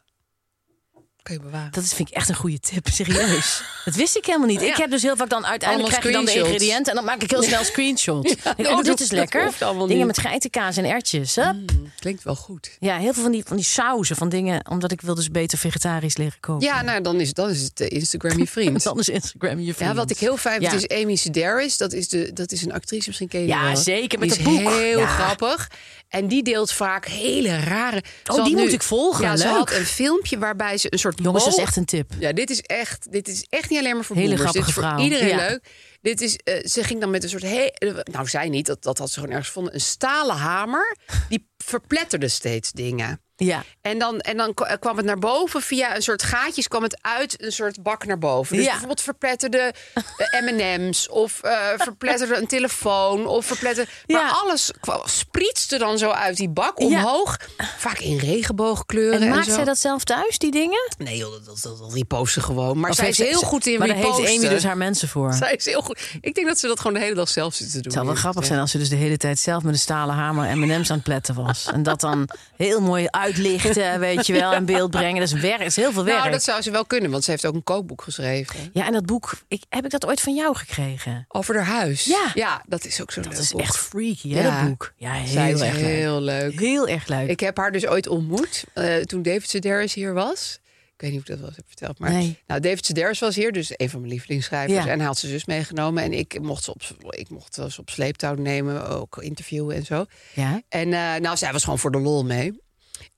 B: kun je bewaren.
C: Dat is, vind ik echt een goede tip, serieus. Dat wist ik helemaal niet.
B: Ja.
C: Ik heb dus heel vaak dan uiteindelijk
B: Allemaal
C: krijg je dan de
B: screenshots.
C: ingrediënten en dan maak ik heel snel screenshots. Ik denk, oh,
B: dat
C: dit
B: hoeft-
C: is
B: dat
C: lekker.
B: hoeft allemaal
C: Dingen
B: niet. Mm.
C: met geitenkaas en ertjes. Hè?
B: Klinkt wel goed.
C: Ja, heel veel van die, van die sauzen, van dingen, omdat ik wil dus beter vegetarisch leren koken.
B: Ja, nou, dan is, dan is het eh, Instagram je
C: Want
B: vriend.
C: dan is Instagram je vriend.
B: Ja, wat ik heel fijn
C: Ja.
B: vind is Amy Sedaris. Dat is, de, dat is een actrice, misschien ken je die
C: Ja,
B: wel.
C: zeker, met
B: die
C: dat
B: is
C: boek.
B: heel
C: Ja. Oh,
B: grappig. En die deelt vaak hele rare... Ze
C: die
B: had nu-
C: moet ik volgen,
B: Ja, ze
C: leuk.
B: had een filmpje waarbij ze een soort
C: Jongens, dat is
B: boog-
C: echt een tip.
B: Ja, dit is echt, dit is echt niet alleen maar voor
C: Hele
B: boomers. Dit is
C: grappige
B: voor
C: vrouw.
B: iedereen
C: Ja.
B: leuk. Dit is, eh, ze ging dan met een soort, he- eh, nou zij niet, dat, dat had ze gewoon ergens gevonden. Een stalen hamer, die verpletterde steeds dingen.
C: Ja.
B: En dan, en dan k- eh, kwam het naar boven via een soort gaatjes, kwam het uit een soort bak naar boven. Dus
C: Ja.
B: bijvoorbeeld verpletterde eh, MM's of eh, verpletterde een telefoon of verpletterde. Maar
C: Ja.
B: alles kwam, sprietste dan zo uit die bak
C: Ja.
B: omhoog. Vaak in regenboogkleuren.
C: En
B: En
C: maakt
B: zo.
C: zij dat zelf thuis, die dingen?
B: Nee, joh, dat, dat, dat, dat repost ze gewoon. Maar
C: Of
B: zij is
C: heeft ze-
B: heel goed in
C: Maar daar
B: reposten.
C: heeft Amy dus haar mensen voor.
B: Zij is heel goed. Ik denk dat ze dat gewoon de hele dag zelf zit te doen.
C: Het zou wel
B: eerlijk
C: grappig
B: gezegd.
C: zijn als ze dus de hele tijd zelf met een stalen hamer M&M's aan het pletten was. En dat dan heel mooi uitlichten, weet je wel, in beeld brengen. Dat is, werk, is heel veel werk.
B: Nou, dat zou ze wel kunnen, want ze heeft ook een kookboek geschreven.
C: Ja, en dat boek, ik, heb ik dat ooit van jou gekregen?
B: Over haar huis.
C: Ja.
B: dat is ook zo'n leuk
C: Dat is
B: boek.
C: echt freaky, hè,
B: Ja.
C: dat boek? Ja, heel
B: Zij is
C: erg leuk.
B: heel leuk.
C: Heel erg leuk.
B: Ik heb haar dus ooit ontmoet eh, toen David Sedaris hier was. Ik weet niet of ik dat wel eens heb verteld, maar
C: Nee.
B: nou, David Sedaris was hier, dus een van mijn lievelingsschrijvers.
C: Ja.
B: En hij had zijn zus meegenomen en ik mocht ze op, ik mocht ze op sleeptouw nemen, ook interviewen en zo.
C: Ja?
B: En eh, nou, zij was gewoon voor de lol mee.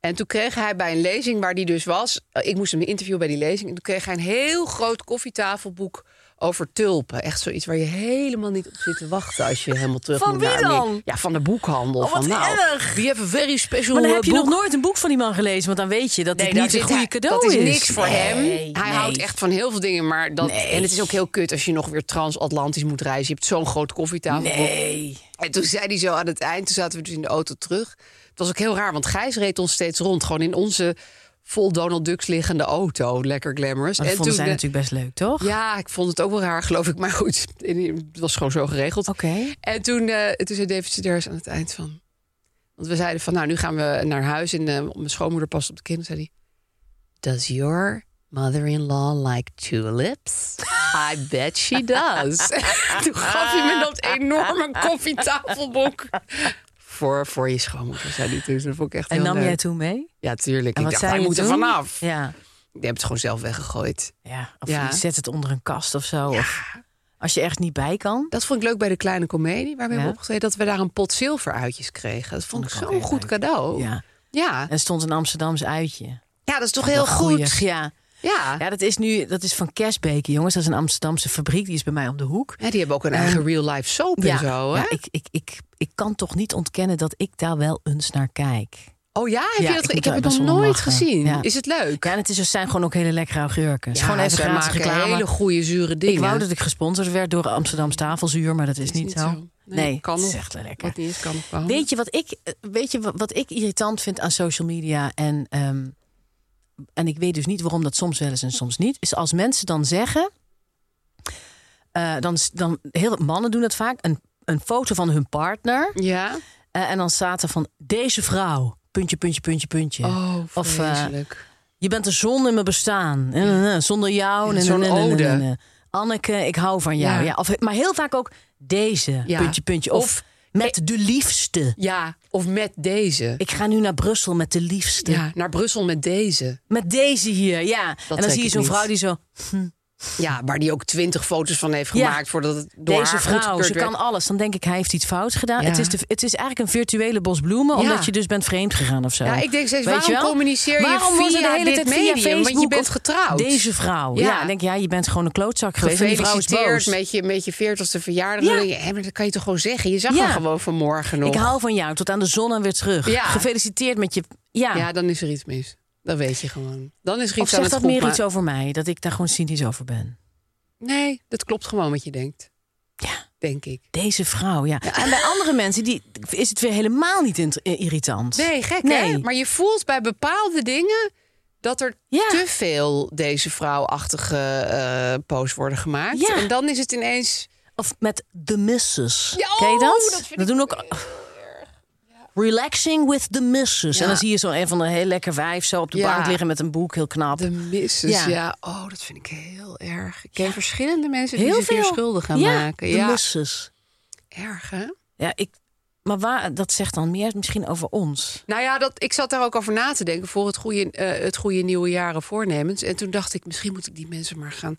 B: En toen kreeg hij bij een lezing waar die dus was. eh, Ik moest hem interviewen bij die lezing. En toen kreeg hij een heel groot koffietafelboek over tulpen. Echt zoiets waar je helemaal niet op zit te wachten als je helemaal terug
C: Van
B: moet
C: wie
B: naar Amerika.
C: dan?
B: Ja, van de boekhandel.
C: Oh, wat
B: van, nou,
C: erg.
B: We have a very special
C: Maar dan heb
B: eh,
C: je
B: boek.
C: nog nooit een boek van die man gelezen, want dan weet je dat
B: Nee,
C: dit
B: daar
C: niet een
B: zit
C: goede
B: hij-
C: cadeau
B: Dat
C: is.
B: is niks voor
C: Nee,
B: hem. hij
C: nee.
B: houdt echt van heel veel dingen. Maar dat,
C: Nee.
B: En het is ook heel kut als je nog weer transatlantisch moet reizen. Je hebt zo'n groot koffietafelboek.
C: Nee.
B: En toen zei hij zo aan het eind, toen zaten we dus in de auto terug. Het was ook heel raar, want Gijs reed ons steeds rond. Gewoon in onze vol Donald Ducks liggende auto. Lekker glamorous.
C: Maar dat vonden
B: toen,
C: zij
B: eh,
C: natuurlijk best leuk, toch?
B: Ja, ik vond het ook wel raar, geloof ik. Maar goed, in- het was gewoon zo geregeld.
C: Oké.
B: En toen, eh, toen zei David Sedaris aan het eind van... Want we zeiden van, nou, nu gaan we naar huis. En eh, mijn schoonmoeder past op de kinderen. zei hij... Does your mother-in-law like tulips? I bet she does. toen gaf hij me dat enorme koffietafelboek. Voor, voor je schoonmoeder, zei hij toen. Dat vond ik echt
C: En
B: heel
C: nam
B: leuk.
C: jij toen mee?
B: Ja, tuurlijk.
C: En
B: ik dacht,
C: wat zei
B: hij
C: je
B: moet er
C: toen?
B: vanaf.
C: Ja.
B: Je hebt het gewoon zelf weggegooid.
C: Ja, of
B: Ja.
C: je zet het onder een kast of zo. Of als je echt niet bij kan.
B: Dat vond ik leuk bij de kleine komedie, waar we
C: Ja.
B: hebben opgetreden, dat we daar een pot zilver uitjes kregen. Dat vond ik
C: Vond ik ook
B: zo'n
C: heel
B: goed
C: leuk.
B: cadeau.
C: Ja.
B: Ja.
C: En stond een Amsterdams uitje.
B: Ja, dat is toch heel
C: Wel goeieig,
B: goed.
C: Ja.
B: Ja.
C: ja, dat is nu dat is van Kersbeke, jongens. Dat is een Amsterdamse fabriek. Die is bij mij om de hoek. Dus,
B: Ja, die hebben ook een eigen real-life soap en zo. Hè?
C: Ehm, ja ik, ik, ik, ik kan toch niet ontkennen dat ik daar wel eens naar kijk.
B: oh ja, heb
C: Ja,
B: je
C: ik
B: dat? ge- Ik, heb
C: moet daar
B: het nog
C: best wel om
B: nooit
C: lachen.
B: gezien.
C: Ja.
B: Is het leuk?
C: Ja, en het is, dus- zijn gewoon ook hele lekkere augurken. Het is gewoon even
B: ze
C: gratis
B: maken
C: reclame.
B: hele goede zure dingen.
C: Ik wou dat ik gesponsord werd door Amsterdams tafelzuur, maar dat is, niet, zo.
B: Nee, kan
C: het is
B: nog.
C: echt wel lekker.
B: Wat niet is, kan nog wel.
C: Weet je wat ik, eh, weet je wat, wat ik irritant vind aan social media en ehm, en ik weet dus niet waarom dat soms wel is en soms niet, is als mensen dan zeggen, eh, dan s- dan heel veel mannen doen dat vaak, een een foto van hun partner
B: Ja.
C: eh, en dan staat er van deze vrouw puntje puntje puntje puntje.
B: Oh,
C: Of, eh,
B: vreselijk.
C: Je bent de zon in mijn bestaan. Eh, eh, eh, Zonder jou.
B: Ja,
C: eh,
B: zo'n
C: eh, eh, eh,
B: ode.
C: eh, eh. Anneke, ik hou van jou.
B: Ja.
C: Ja. of, maar heel vaak ook deze.
B: Ja.
C: Puntje, puntje. Of,
B: Of-
C: met de liefste.
B: ja, of met deze.
C: Ik ga nu naar Brussel met de liefste.
B: Ja, naar Brussel met deze.
C: Met deze hier, ja. en
B: trek
C: dan zie je
B: ik
C: zo'n
B: niet.
C: vrouw die zo...
B: Ja, waar die ook twintig foto's van heeft
C: Ja.
B: gemaakt voordat het door
C: deze
B: haar
C: vrouw,
B: goedgekeurd
C: ze
B: werd.
C: kan alles. Dan denk ik, hij heeft iets fout gedaan.
B: Ja.
C: Het, is de, het is eigenlijk een virtuele bos bloemen.
B: Ja.
C: Omdat je dus bent vreemd gegaan of zo.
B: Ja, ik denk steeds,
C: Weet
B: waarom
C: je wel?
B: communiceer je
C: Waarom wordt er
B: via
C: de hele
B: dit
C: tijd via
B: medium?
C: Facebook?
B: Want je bent
C: of
B: getrouwd.
C: Deze vrouw.
B: Ja.
C: Ja. ik denk, ja, je bent gewoon een klootzak geweest. En die vrouw is
B: gefeliciteerd
C: boos.
B: met je, met je 40ste verjaardag.
C: Ja.
B: Dan denk je, hè, maar dat kan je toch gewoon zeggen? Je zag
C: Ja.
B: hem gewoon vanmorgen nog.
C: Ik hou van jou, tot aan de zon en weer terug.
B: Ja.
C: Gefeliciteerd met je... Ja,
B: Ja, dan is er iets mis. Dat weet je gewoon. Dan is er
C: Ah. of
B: iets aan
C: zegt
B: het
C: dat
B: goed
C: meer
B: maken.
C: iets over mij? Dat ik daar gewoon cynisch over ben.
B: Nee, dat klopt gewoon wat je denkt.
C: Ja.
B: Denk ik.
C: Deze vrouw, ja. En bij andere mensen die, is het weer helemaal niet int- eh, irritant.
B: Nee, gek hè?
C: Nee.
B: Maar je voelt bij bepaalde dingen dat er
C: Ja.
B: te veel deze vrouwachtige eh posts worden gemaakt.
C: Ja.
B: En dan is het ineens...
C: Of met de missus.
B: Ja,
C: Ken je
B: oh,
C: dat?
B: dat vind ik
C: doen ook... Relaxing with the missus.
B: Ja.
C: En dan zie je zo'n een van de heel lekker wijf zo op de
B: Ja.
C: bank liggen met een boek, heel knap.
B: De missus,
C: Ja.
B: ja. Oh, dat vind ik heel erg. Ik ken verschillende mensen die
C: heel
B: zich hier schuldig gaan
C: ja,
B: maken.
C: De
B: Ja,
C: missus.
B: erg hè?
C: Ja, ik. Maar waar, dat zegt dan meer misschien over ons.
B: Nou ja, dat, ik zat daar ook over na te denken voor het goede, eh, het goede nieuwe jaren voornemens. En toen dacht ik, misschien moet ik die mensen maar gaan...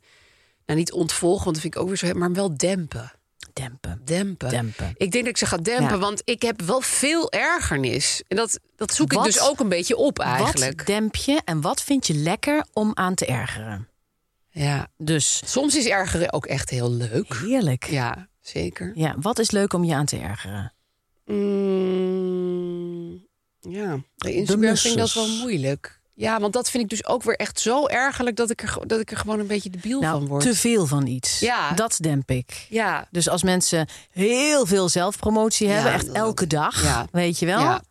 B: Nou, niet ontvolgen, want dat vind ik ook weer zo... Maar wel dempen.
C: Dempen.
B: Dempen.
C: Dempen.
B: Ik denk dat ik ze ga dempen,
C: Ja.
B: want ik heb wel veel ergernis. En dat, dat zoek
C: Wat-
B: ik dus ook een beetje op eigenlijk.
C: Wat demp je en wat vind je lekker om aan te ergeren?
B: Ja.
C: Dus
B: Soms is ergeren ook echt heel leuk.
C: heerlijk. Ja.
B: Ja, zeker.
C: wat is leuk om je aan te ergeren?
B: Mm, ja, bij Instagram vind ik dat
C: missus.
B: wel moeilijk. Ja, want dat vind ik dus ook weer echt zo ergerlijk... dat ik er, ge- dat ik er gewoon een beetje debiel van
C: Nou,
B: word.
C: te veel van iets.
B: Ja.
C: Dat demp ik.
B: Ja,
C: Dus als mensen heel veel zelfpromotie
B: Ja,
C: hebben, echt
B: dat
C: elke
B: ook.
C: dag,
B: Ja.
C: weet je wel.
B: ja.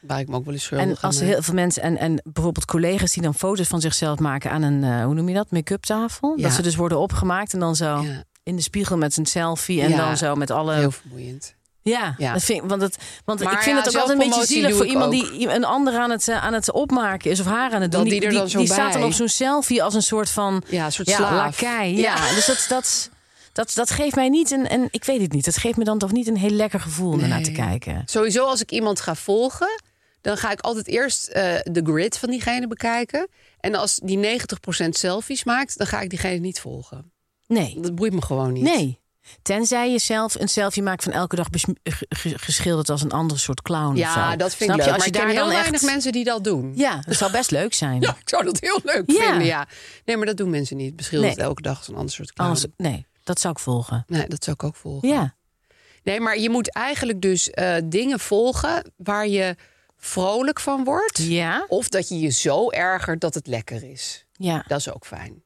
B: Waar ik me ook wel eens schuldig
C: En
B: aan
C: als er
B: maak.
C: heel veel mensen en, en bijvoorbeeld collega's die dan foto's van zichzelf maken aan een, eh, hoe noem je dat, make-up tafel.
B: Ja.
C: Dat ze dus worden opgemaakt en dan zo
B: Ja,
C: in de spiegel met een selfie en
B: Ja.
C: dan zo met alle
B: heel vermoeiend.
C: Ja,
B: Ja.
C: Dat vind, ik- want, het, want
B: Maar
C: ik vind
B: ja,
C: het ook altijd een beetje
B: zelfpromotie
C: zielig
B: doe
C: voor
B: ik
C: iemand die een ander aan het, eh, aan het opmaken is of haar aan het doen.
B: Dat die er dan zo
C: die staat
B: bij.
C: dan op zo'n selfie als een soort van
B: Ja, een soort
C: ja,
B: slaaf.
C: lakai. Ja.
B: Ja.
C: Dus dat, dat, dat, dat geeft mij niet een, en ik weet het niet, dat geeft me dan toch niet een heel lekker gevoel om ernaar te
B: Nee.
C: kijken.
B: Sowieso als ik iemand ga volgen, dan ga ik altijd eerst eh, de grid van diegene bekijken. En als die 90% selfies maakt, dan ga ik diegene niet volgen.
C: Nee,
B: Dat boeit me gewoon niet.
C: nee. Tenzij je zelf een selfie maakt van elke dag bes- ge- ge- geschilderd als een andere soort clown. of
B: Ja,
C: zo.
B: dat vind
C: Snap
B: ik
C: je?
B: leuk. Maar
C: Als je
B: ik ken
C: daar
B: heel
C: dan
B: weinig
C: echt...
B: mensen die dat doen.
C: Ja, dat zou best leuk zijn.
B: Ja, ik zou dat heel leuk
C: Ja.
B: vinden, ja. Nee, maar dat doen mensen niet. Beschilderd
C: Nee.
B: elke dag als een ander soort clown.
C: Anders, nee, dat zou ik volgen.
B: Nee, dat zou ik ook volgen.
C: Ja,
B: Nee, maar je moet eigenlijk dus eh, dingen volgen waar je vrolijk van wordt.
C: ja,
B: Of dat je je zo ergert dat het lekker is.
C: ja.
B: Dat is ook fijn.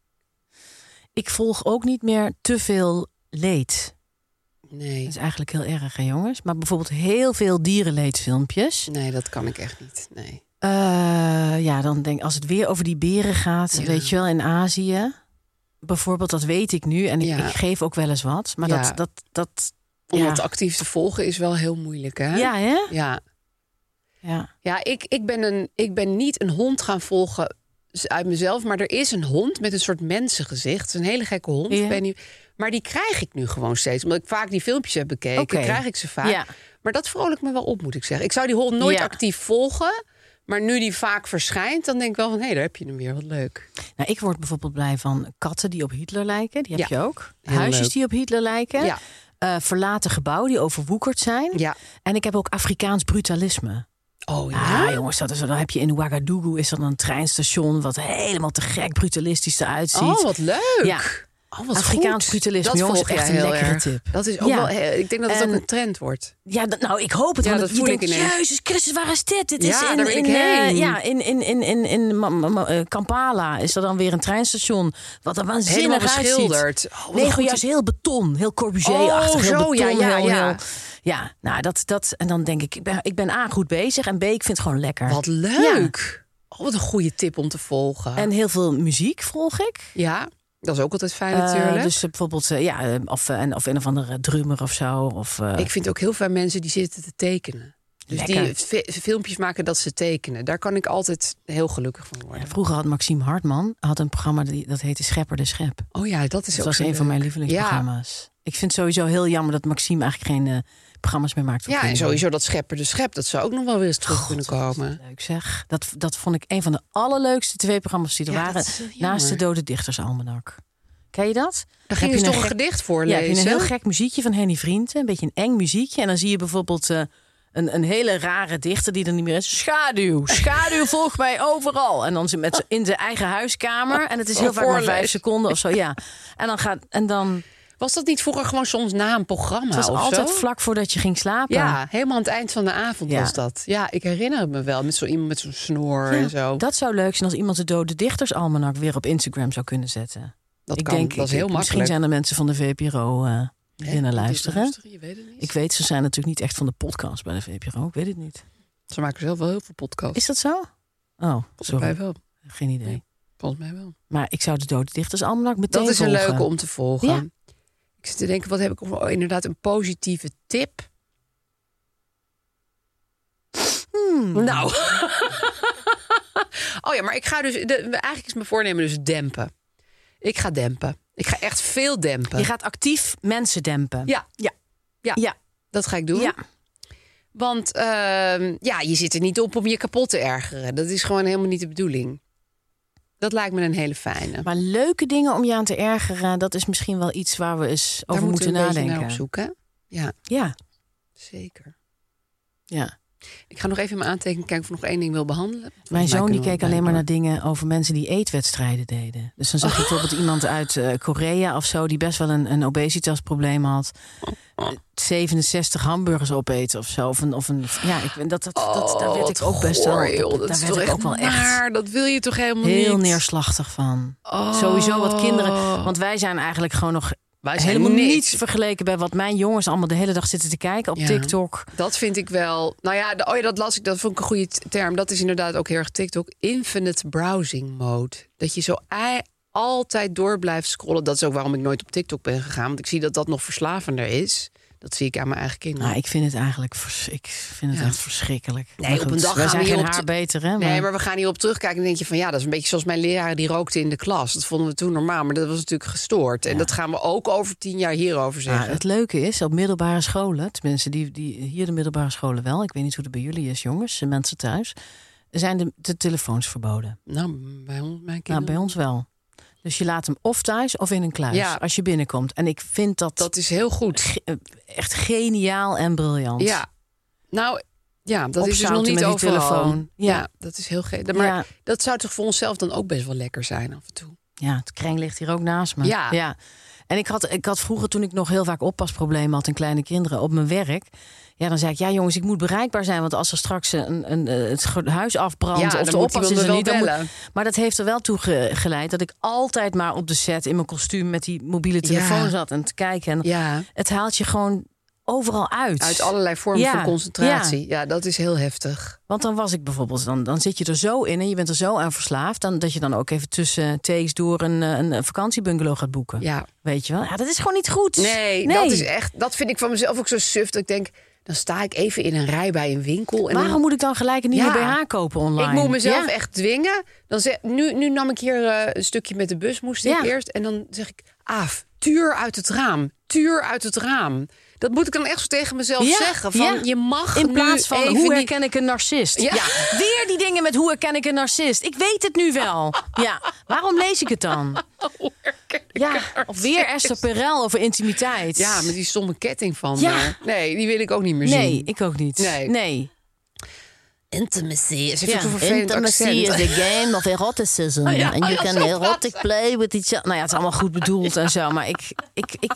C: ik volg ook niet meer te veel leed.
B: Nee,
C: Dat is eigenlijk heel erg, hè, jongens. Maar bijvoorbeeld heel veel dierenleedfilmpjes.
B: nee dat kan ik echt niet. Nee.
C: Eh, ja, dan denk ik, als het weer over die beren gaat,
B: Ja.
C: weet je wel, in Azië. Bijvoorbeeld, dat weet ik nu. En ik,
B: Ja.
C: ik geef ook wel eens wat. Maar
B: Ja.
C: dat, dat, dat...
B: Om
C: ja.
B: dat actief te volgen is wel heel moeilijk, hè?
C: Ja, hè?
B: Ja,
C: Ja.
B: ja ik, ik, ben een, ik ben niet een hond gaan volgen uit mezelf. Maar er is een hond met een soort mensengezicht. Het is een hele gekke hond.
C: Ja.
B: Ik weet niet, maar die krijg ik nu gewoon steeds. Omdat ik vaak die filmpjes heb bekeken,
C: Oké.
B: krijg ik ze vaak.
C: Ja.
B: Maar dat vrolijk me wel op, moet ik zeggen. Ik zou die hond nooit
C: Ja.
B: actief volgen. Maar nu die vaak verschijnt, dan denk ik wel van... hé, daar heb je hem weer, wat leuk.
C: Nou, ik word bijvoorbeeld blij van katten die op Hitler lijken. Die heb
B: Ja.
C: je ook.
B: Heel
C: Huisjes
B: leuk.
C: die op Hitler lijken.
B: Ja.
C: Eh, verlaten gebouwen die overwoekerd zijn.
B: Ja.
C: En ik heb ook Afrikaans brutalisme.
B: Oh ja?
C: Ja, jongens, dat is, dan heb je in Ouagadougou is dat een treinstation wat helemaal te gek brutalistisch eruit ziet.
B: Oh, wat leuk.
C: Ja.
B: Oh, wat
C: Afrikaans
B: goed.
C: brutalisme,
B: dat
C: jongens,
B: volg jij
C: echt een
B: heel
C: lekkere
B: erg.
C: tip.
B: Dat is ook
C: Ja.
B: wel,
C: Ehm,
B: eh, ik denk dat het
C: En-
B: ook een trend wordt.
C: Ja, dat- nou, ik hoop het.
B: Ja,
C: want
B: dat
C: je
B: voel ik
C: denkt,
B: ineens.
C: jezus Christus, waar is dit? Dit is
B: Ja,
C: in,
B: daar wil
C: in,
B: ik
C: eh,
B: heen.
C: ja, in, in, in, in, in Ma- Ma- Ma- eh, Kampala is er dan weer een treinstation. Wat er
B: Helemaal
C: waanzinnig uitziet.
B: beschilderd. Oh, wat
C: nee,
B: een
C: gewoon
B: goed-
C: juist heel beton. Heel Corbusier-achtig.
B: Oh,
C: heel
B: zo,
C: beton.
B: ja, ja,
C: heel,
B: ja.
C: heel- ja, nou, dat, dat, en dan denk ik, ik ben, ik ben A, goed bezig. En B, ik vind het gewoon lekker.
B: Wat leuk. Oh, wat een goede tip om te volgen.
C: En heel veel muziek volg ik.
B: ja, dat is ook altijd fijn
C: Eh,
B: natuurlijk.
C: dus eh, bijvoorbeeld, eh, ja, eh, of, eh, een- of een of andere drummer of zo. Of, eh,
B: ik vind ook heel veel mensen die zitten te tekenen. Dus die
C: Lekker.
B: fi- filmpjes maken dat ze tekenen. Daar kan ik altijd heel gelukkig van worden.
C: Vroeger had Maxime Hartman had een programma die, dat heette Schepper de Schep.
B: Oh ja, dat is
C: Dat
B: ook
C: was
B: zo
C: een van
B: leuk.
C: mijn lievelingsprogramma's. Ik vind het sowieso heel jammer dat Maxime eigenlijk geen eh, programma's meer maakt. voor
B: Ja, ja, en
C: kinderen.
B: sowieso dat schepper de schep. Dat zou ook nog wel weer eens terug kunnen komen.
C: Leuk zeg. Dat, dat vond ik een van de allerleukste twee programma's die er
B: Ja, dat
C: waren.
B: is heel jammer.
C: Naast de Dode Dichtersalmanak. Ken je dat?
B: Dan
C: Heb
B: ging je
C: je
B: toch
C: een
B: een
C: gek-
B: gedicht
C: Ja, heb je een
B: voorlezen?
C: heel gek muziekje van Henny Vrienden. Een beetje een eng muziekje. En dan zie je bijvoorbeeld eh, een, een hele rare dichter die er niet meer is. Schaduw, schaduw volgt mij overal. En dan zit met z'n- in zijn eigen huiskamer. En het is heel vaak maar vijf
B: Voorlees.
C: seconden of zo. Ja. En dan gaat. En dan.
B: Was dat niet vroeger gewoon soms na een programma?
C: Het was
B: Nou, of
C: altijd
B: zo?
C: vlak voordat je ging slapen.
B: Ja, helemaal aan het eind van de avond
C: Ja.
B: was dat. Ja, ik herinner het me wel. Met zo iemand met zo'n snor
C: Ja,
B: en zo. Dat,
C: Dat zou leuk zijn als iemand de Dode Dichtersalmanak weer op Instagram zou kunnen zetten. ik
B: kan.
C: denk,
B: dat is
C: ik-
B: heel
C: misschien
B: makkelijk.
C: zijn er mensen van de VPRO eh, die
B: Hè?
C: naar
B: Die
C: luisteren.
B: luisteren, Je weet het niet.
C: Ik weet, ze zijn natuurlijk niet echt van de podcast bij de VPRO. Ik weet het niet.
B: Ze maken zelf wel heel veel podcasts.
C: Is dat zo? Oh,
B: Volgens
C: sorry.
B: mij wel.
C: Geen idee.
B: Nee. Volgens mij wel.
C: Maar ik zou de Dode Dichters Almanak meteen
B: Dat is een
C: volgen.
B: leuke om te volgen.
C: Ja.
B: Ik zit te denken, wat heb ik oh, inderdaad een positieve tip?
C: Hmm.
B: Nou. oh ja, maar ik ga dus. De, eigenlijk is mijn voornemen dus dempen. Ik ga dempen. Ik ga echt veel dempen.
C: Je gaat actief mensen dempen.
B: Ja,
C: Ja.
B: Ja.
C: Ja.
B: dat ga ik doen.
C: Ja.
B: Want ehm, ja, je zit er niet op om je kapot te ergeren. Dat is gewoon helemaal niet de bedoeling. Dat lijkt me een hele fijne.
C: Maar leuke dingen om je aan te ergeren, dat is misschien wel iets waar we eens
B: Daar
C: over moeten,
B: we een beetje
C: nadenken.
B: naar op zoek, hè? Ja,
C: Ja,
B: zeker.
C: ja.
B: Ik ga nog even in mijn aantekening kijken of ik nog één ding wil behandelen.
C: Mijn zoon die
B: kunnen we
C: keek
B: wel
C: alleen maar naar
B: blijven.
C: dingen over mensen die eetwedstrijden deden. Dus dan zag je bijvoorbeeld iemand uit eh, Korea of zo die best wel een, een obesitasprobleem had. Eh, 67 hamburgers opeten of zo. Of een, of een, ja, ik, ben- dat, dat, dat, daar
B: Oh,
C: werd
B: wat
C: ik ook best wel.
B: goor, joh. Dat
C: daar
B: is
C: werd
B: toch
C: ik ook wel echt
B: naar. Dat wil je toch helemaal niet?
C: heel neerslachtig van.
B: Oh.
C: Sowieso wat kinderen. Want wij zijn eigenlijk gewoon nog
B: Wij zijn
C: helemaal
B: niks.
C: niets vergeleken bij wat mijn jongens allemaal de hele dag zitten te kijken op
B: Ja.
C: TikTok.
B: Dat vind ik wel. Nou ja, de- oh ja, dat las ik. Dat vond ik een goede t- term. Dat is inderdaad ook heel erg TikTok. Infinite browsing mode. Dat je zo ei- altijd door blijft scrollen. Dat is ook waarom ik nooit op TikTok ben gegaan. Want ik zie dat dat nog verslavender is. Dat zie ik aan mijn eigen kinderen.
C: Nou, ik vind het eigenlijk vers- ik vind het
B: Ja.
C: echt verschrikkelijk.
B: Nee,
C: Maar
B: op
C: goed,
B: een dag
C: wij
B: gaan
C: zijn
B: we hier
C: geen
B: op
C: haar
B: de-
C: beter, hè?
B: Nee, maar we gaan hierop terugkijken en denk je van ja, dat is een beetje zoals mijn leraar die rookte in de klas. Dat vonden we toen normaal, maar dat was natuurlijk gestoord. En dat gaan we ook over tien jaar hierover
C: Maar
B: zeggen.
C: het leuke is, op middelbare scholen, tenminste die, die, hier de middelbare scholen wel, ik weet niet hoe het bij jullie is, jongens, de mensen thuis, zijn de, de telefoons verboden.
B: Nou, bij ons, mijn
C: Nou,
B: kinderen.
C: bij ons wel. Dus je laat hem of thuis of in een kluis
B: Ja.
C: als je binnenkomt. En ik vind dat,
B: Dat is heel goed.
C: ge- eh, echt geniaal en briljant.
B: Ja. Nou, ja, dat is dus nog
C: Opzouten
B: niet
C: met die
B: overal.
C: telefoon.
B: Ja.
C: Ja.
B: dat is heel gek. Maar
C: Ja.
B: dat zou toch voor onszelf dan ook best wel lekker zijn af en toe.
C: Ja, het kreng ligt hier ook naast me.
B: Ja.
C: En ik had, ik had vroeger, toen ik nog heel vaak oppasproblemen had in kleine kinderen op mijn werk. Ja, dan zei ik, ja jongens, ik moet bereikbaar zijn. Want als er straks een, een, eh, het ge- huis afbrandt
B: Ja,
C: of
B: dan
C: de
B: moet
C: oppas
B: iemand
C: is er
B: wel
C: niet. dan moet-
B: bellen.
C: maar dat heeft er wel toe ge- geleid dat ik altijd maar op de set in mijn kostuum met die mobiele telefoon
B: Ja.
C: zat en te kijken. En
B: Ja,
C: Het haalt je gewoon overal uit.
B: uit allerlei vormen
C: Ja,
B: van concentratie. Ja. dat is heel heftig.
C: Want dan was ik bijvoorbeeld, dan, dan zit je er zo in en je bent er zo aan verslaafd. Dan, dat je dan ook even tussen takes door een, eh, een vakantiebungalow gaat boeken.
B: Ja.
C: Weet je wel? Ja, dat is gewoon niet goed.
B: Nee, dat is echt. Dat vind ik van mezelf ook zo suf. Dat ik denk, dan sta ik even in een rij bij een winkel. En dan-
C: Waarom moet ik dan gelijk een nieuwe
B: Ja.
C: BH kopen online?
B: ik moet mezelf
C: Ja.
B: echt dwingen. Dan zeg, nu, nu nam ik hier eh, een stukje met de bus, moest ik
C: Ja.
B: eerst. En dan zeg ik, Aaf, tuur uit het raam. Tuur uit het raam. Dat moet ik dan echt zo tegen mezelf
C: Ja,
B: zeggen. Van,
C: ja.
B: Je mag
C: In
B: nu
C: plaats van
B: even
C: hoe
B: niet-
C: herken ik een narcist?
B: Ja.
C: Ja. Weer die dingen met hoe herken ik een narcist? Ik weet het nu wel. Ja. Waarom lees ik het dan?
B: Hoe herken ik
C: Ja.
B: een
C: Of weer Esther Perel over intimiteit.
B: Ja, met die stomme ketting van.
C: Ja.
B: haar. nee, die wil ik ook niet meer
C: Nee,
B: zien.
C: ik ook niet.
B: Nee.
C: nee.
B: Intimacy. Ze heeft
C: Ja.
B: zo'n vervelend accent.
D: is a game of eroticism.
B: ja,
D: and
B: oh
D: you can
B: ja, zo
D: erotic play with each other.
C: Nou ja, het is allemaal goed bedoeld en zo. Maar ik, ik, ik,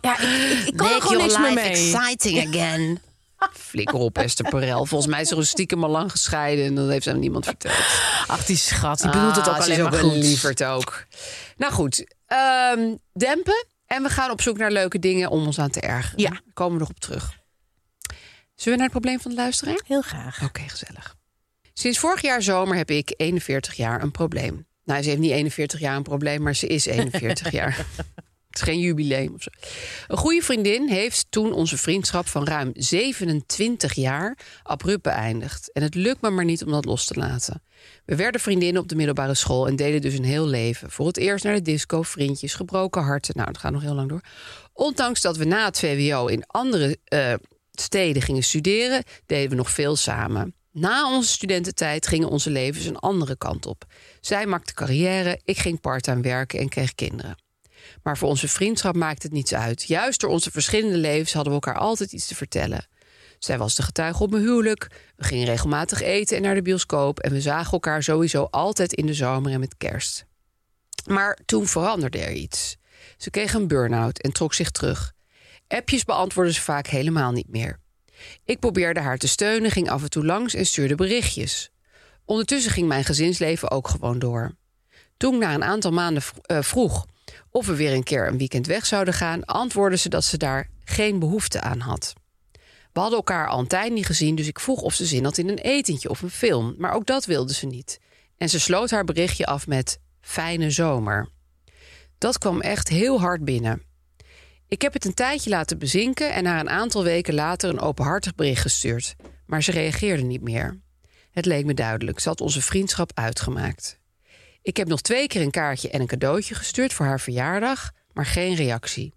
C: ja, ik, ik, ik kan er gewoon niks meer mee.
B: exciting again. Flikker op, Esther Perel. Volgens mij is ze gewoon stiekem al lang gescheiden. En dat heeft ze aan niemand verteld.
C: Ach, die schat. Die bedoelt het ook
B: Ah, ze
C: alleen
B: is
C: maar
B: een
C: goed.
B: lieverd ook. Nou goed, ehm, dempen. En we gaan op zoek naar leuke dingen om ons aan te ergeren.
C: Ja.
B: Daar komen we nog op terug. Zullen we naar het probleem van de luisteraar?
C: Heel graag.
B: Oké, gezellig. Sinds vorig jaar zomer heb ik 41 jaar een probleem. Nou, ze heeft niet 41 jaar een probleem, maar ze is 41 jaar. Het is geen jubileum of zo. Een goede vriendin heeft toen onze vriendschap van ruim 27 jaar abrupt beëindigd. En het lukt me maar niet om dat los te laten. We werden vriendinnen op de middelbare school en deden dus een heel leven. Voor het eerst naar de disco, vriendjes, gebroken harten. Nou, dat gaat nog heel lang door. Ondanks dat we na het VWO in andere eh, steden gingen studeren, deden we nog veel samen. Na onze studententijd gingen onze levens een andere kant op. Zij maakte carrière, ik ging part-time werken en kreeg kinderen. Maar voor onze vriendschap maakt het niets uit. Juist door onze verschillende levens hadden we elkaar altijd iets te vertellen. Zij was de getuige op mijn huwelijk. We gingen regelmatig eten en naar de bioscoop. En we zagen elkaar sowieso altijd in de zomer en met kerst. Maar toen veranderde er iets. Ze kreeg een burn-out en trok zich terug. Appjes beantwoordde ze vaak helemaal niet meer. Ik probeerde haar te steunen, ging af en toe langs en stuurde berichtjes. Ondertussen ging mijn gezinsleven ook gewoon door. Toen ik na een aantal maanden vro- eh, vroeg of we weer een keer een weekend weg zouden gaan, antwoordde ze dat ze daar geen behoefte aan had. We hadden elkaar al een tijd niet gezien, dus ik vroeg of ze zin had in een etentje of een film. Maar ook dat wilde ze niet. En ze sloot haar berichtje af met fijne zomer. Dat kwam echt heel hard binnen. Ik heb het een tijdje laten bezinken en haar een aantal weken later een openhartig bericht gestuurd. Maar ze reageerde niet meer. Het leek me duidelijk. Ze had onze vriendschap uitgemaakt. Ik heb nog twee keer een kaartje en een cadeautje gestuurd voor haar verjaardag, maar geen reactie.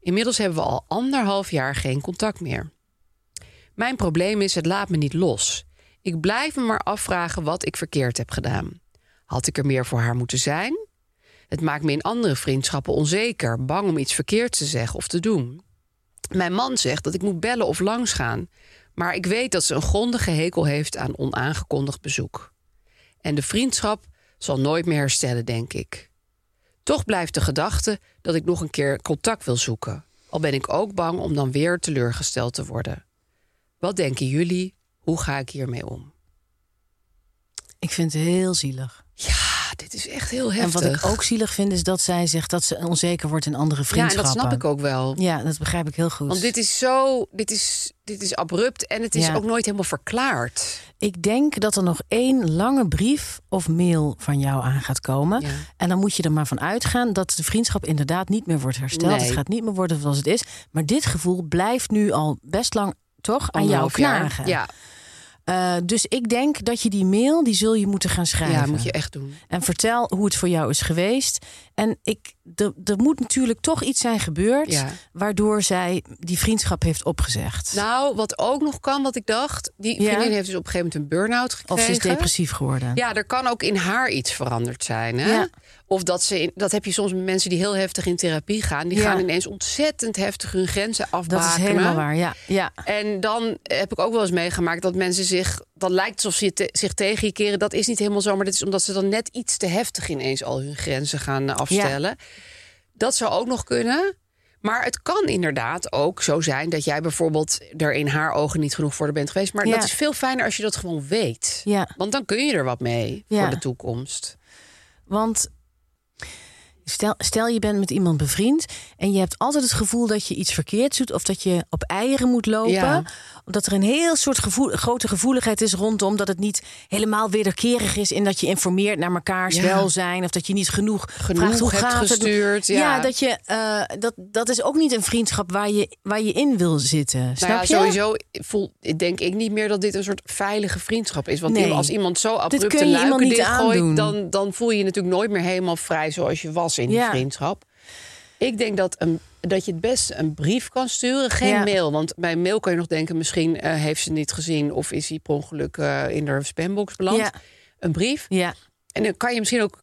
B: Inmiddels hebben we al anderhalf jaar geen contact meer. Mijn probleem is, het laat me niet los. Ik blijf me maar afvragen wat ik verkeerd heb gedaan. Had ik er meer voor haar moeten zijn? Het maakt me in andere vriendschappen onzeker, bang om iets verkeerds te zeggen of te doen. Mijn man zegt dat ik moet bellen of langsgaan, maar ik weet dat ze een grondige hekel heeft aan onaangekondigd bezoek. En de vriendschap zal nooit meer herstellen, denk ik. Toch blijft de gedachte dat ik nog een keer contact wil zoeken, al ben ik ook bang om dan weer teleurgesteld te worden. Wat denken jullie? Hoe ga ik hiermee om?
C: Ik vind het heel zielig.
B: Ja, dit is echt heel heftig.
C: En wat ik ook zielig vind, is dat zij zegt dat ze onzeker wordt in andere
B: ja, en
C: vriendschappen.
B: dat snap ik ook wel.
C: Ja, dat begrijp ik heel goed.
B: Want dit is zo, dit is, dit is abrupt en het is
C: Ja.
B: ook nooit helemaal verklaard.
C: Ik denk dat er nog één lange brief of mail van jou aan gaat komen.
B: Ja.
C: En dan moet je er maar van uitgaan dat de vriendschap inderdaad niet meer wordt hersteld.
B: Nee.
C: Het gaat niet meer worden zoals het is. Maar dit gevoel blijft nu al best lang toch aan jou
B: Anderhalf jaar.
C: knagen.
B: Ja,
C: Eh, dus ik denk dat je die mail, die zul je moeten gaan schrijven.
B: ja, moet je echt doen.
C: En vertel hoe het voor jou is geweest. En ik, er, er moet natuurlijk toch iets zijn gebeurd...
B: Ja.
C: waardoor zij die vriendschap heeft opgezegd.
B: Nou, wat ook nog kan, wat ik dacht. Die
C: Ja.
B: vriendin heeft dus op een gegeven moment een burn-out gekregen.
C: of ze is depressief geworden.
B: Ja, er kan ook in haar iets veranderd zijn. Hè?
C: Ja.
B: Of dat ze, in, dat heb je soms met mensen die heel heftig in therapie gaan. Die
C: Ja.
B: gaan ineens ontzettend heftig hun grenzen
C: dat
B: afbakenen.
C: is helemaal waar, ja. ja.
B: En dan heb ik ook wel eens meegemaakt dat mensen zich... dat lijkt alsof ze je te- zich tegen je keren. Dat is niet helemaal zo, maar dat is omdat ze dan net iets te heftig... ineens al hun grenzen gaan eh, afstellen. Dat zou ook nog kunnen. Maar het kan inderdaad ook zo zijn... dat jij bijvoorbeeld er in haar ogen niet genoeg voor bent geweest. Maar
C: Ja.
B: dat is veel fijner als je dat gewoon weet.
C: Ja.
B: Want dan kun je er wat mee
C: Ja.
B: voor de toekomst.
C: Want stel, stel je bent met iemand bevriend en je hebt altijd het gevoel dat je iets verkeerd doet of dat je op eieren moet lopen.
B: Ja.
C: Omdat er een heel soort gevoel, grote gevoeligheid is rondom dat het niet helemaal wederkerig is en dat je informeert naar mekaars
B: Ja.
C: welzijn of dat je niet genoeg,
B: Genoeg
C: vraagt hoe
B: hebt
C: gaat het?
B: gestuurd, ja.
C: dat je eh, dat, dat is ook niet een vriendschap waar je, waar je in wil zitten. snap
B: nou ja,
C: je?
B: sowieso voel, denk ik niet meer dat dit een soort veilige vriendschap is. Want
C: Nee.
B: als iemand zo abrupt
C: kun
B: de
C: je iemand
B: luiken
C: niet
B: dichtgooit...
C: aandoen.
B: Dan, dan voel je je natuurlijk nooit meer helemaal vrij zoals je was in die
C: Ja.
B: vriendschap. Ik denk dat, een, dat je het best een brief kan sturen, geen
C: Ja.
B: mail. Want bij mail kan je nog denken, misschien eh, heeft ze niet gezien... of is hij per ongeluk eh, in haar spambox beland.
C: Ja.
B: Een brief.
C: Ja.
B: En dan kan je misschien ook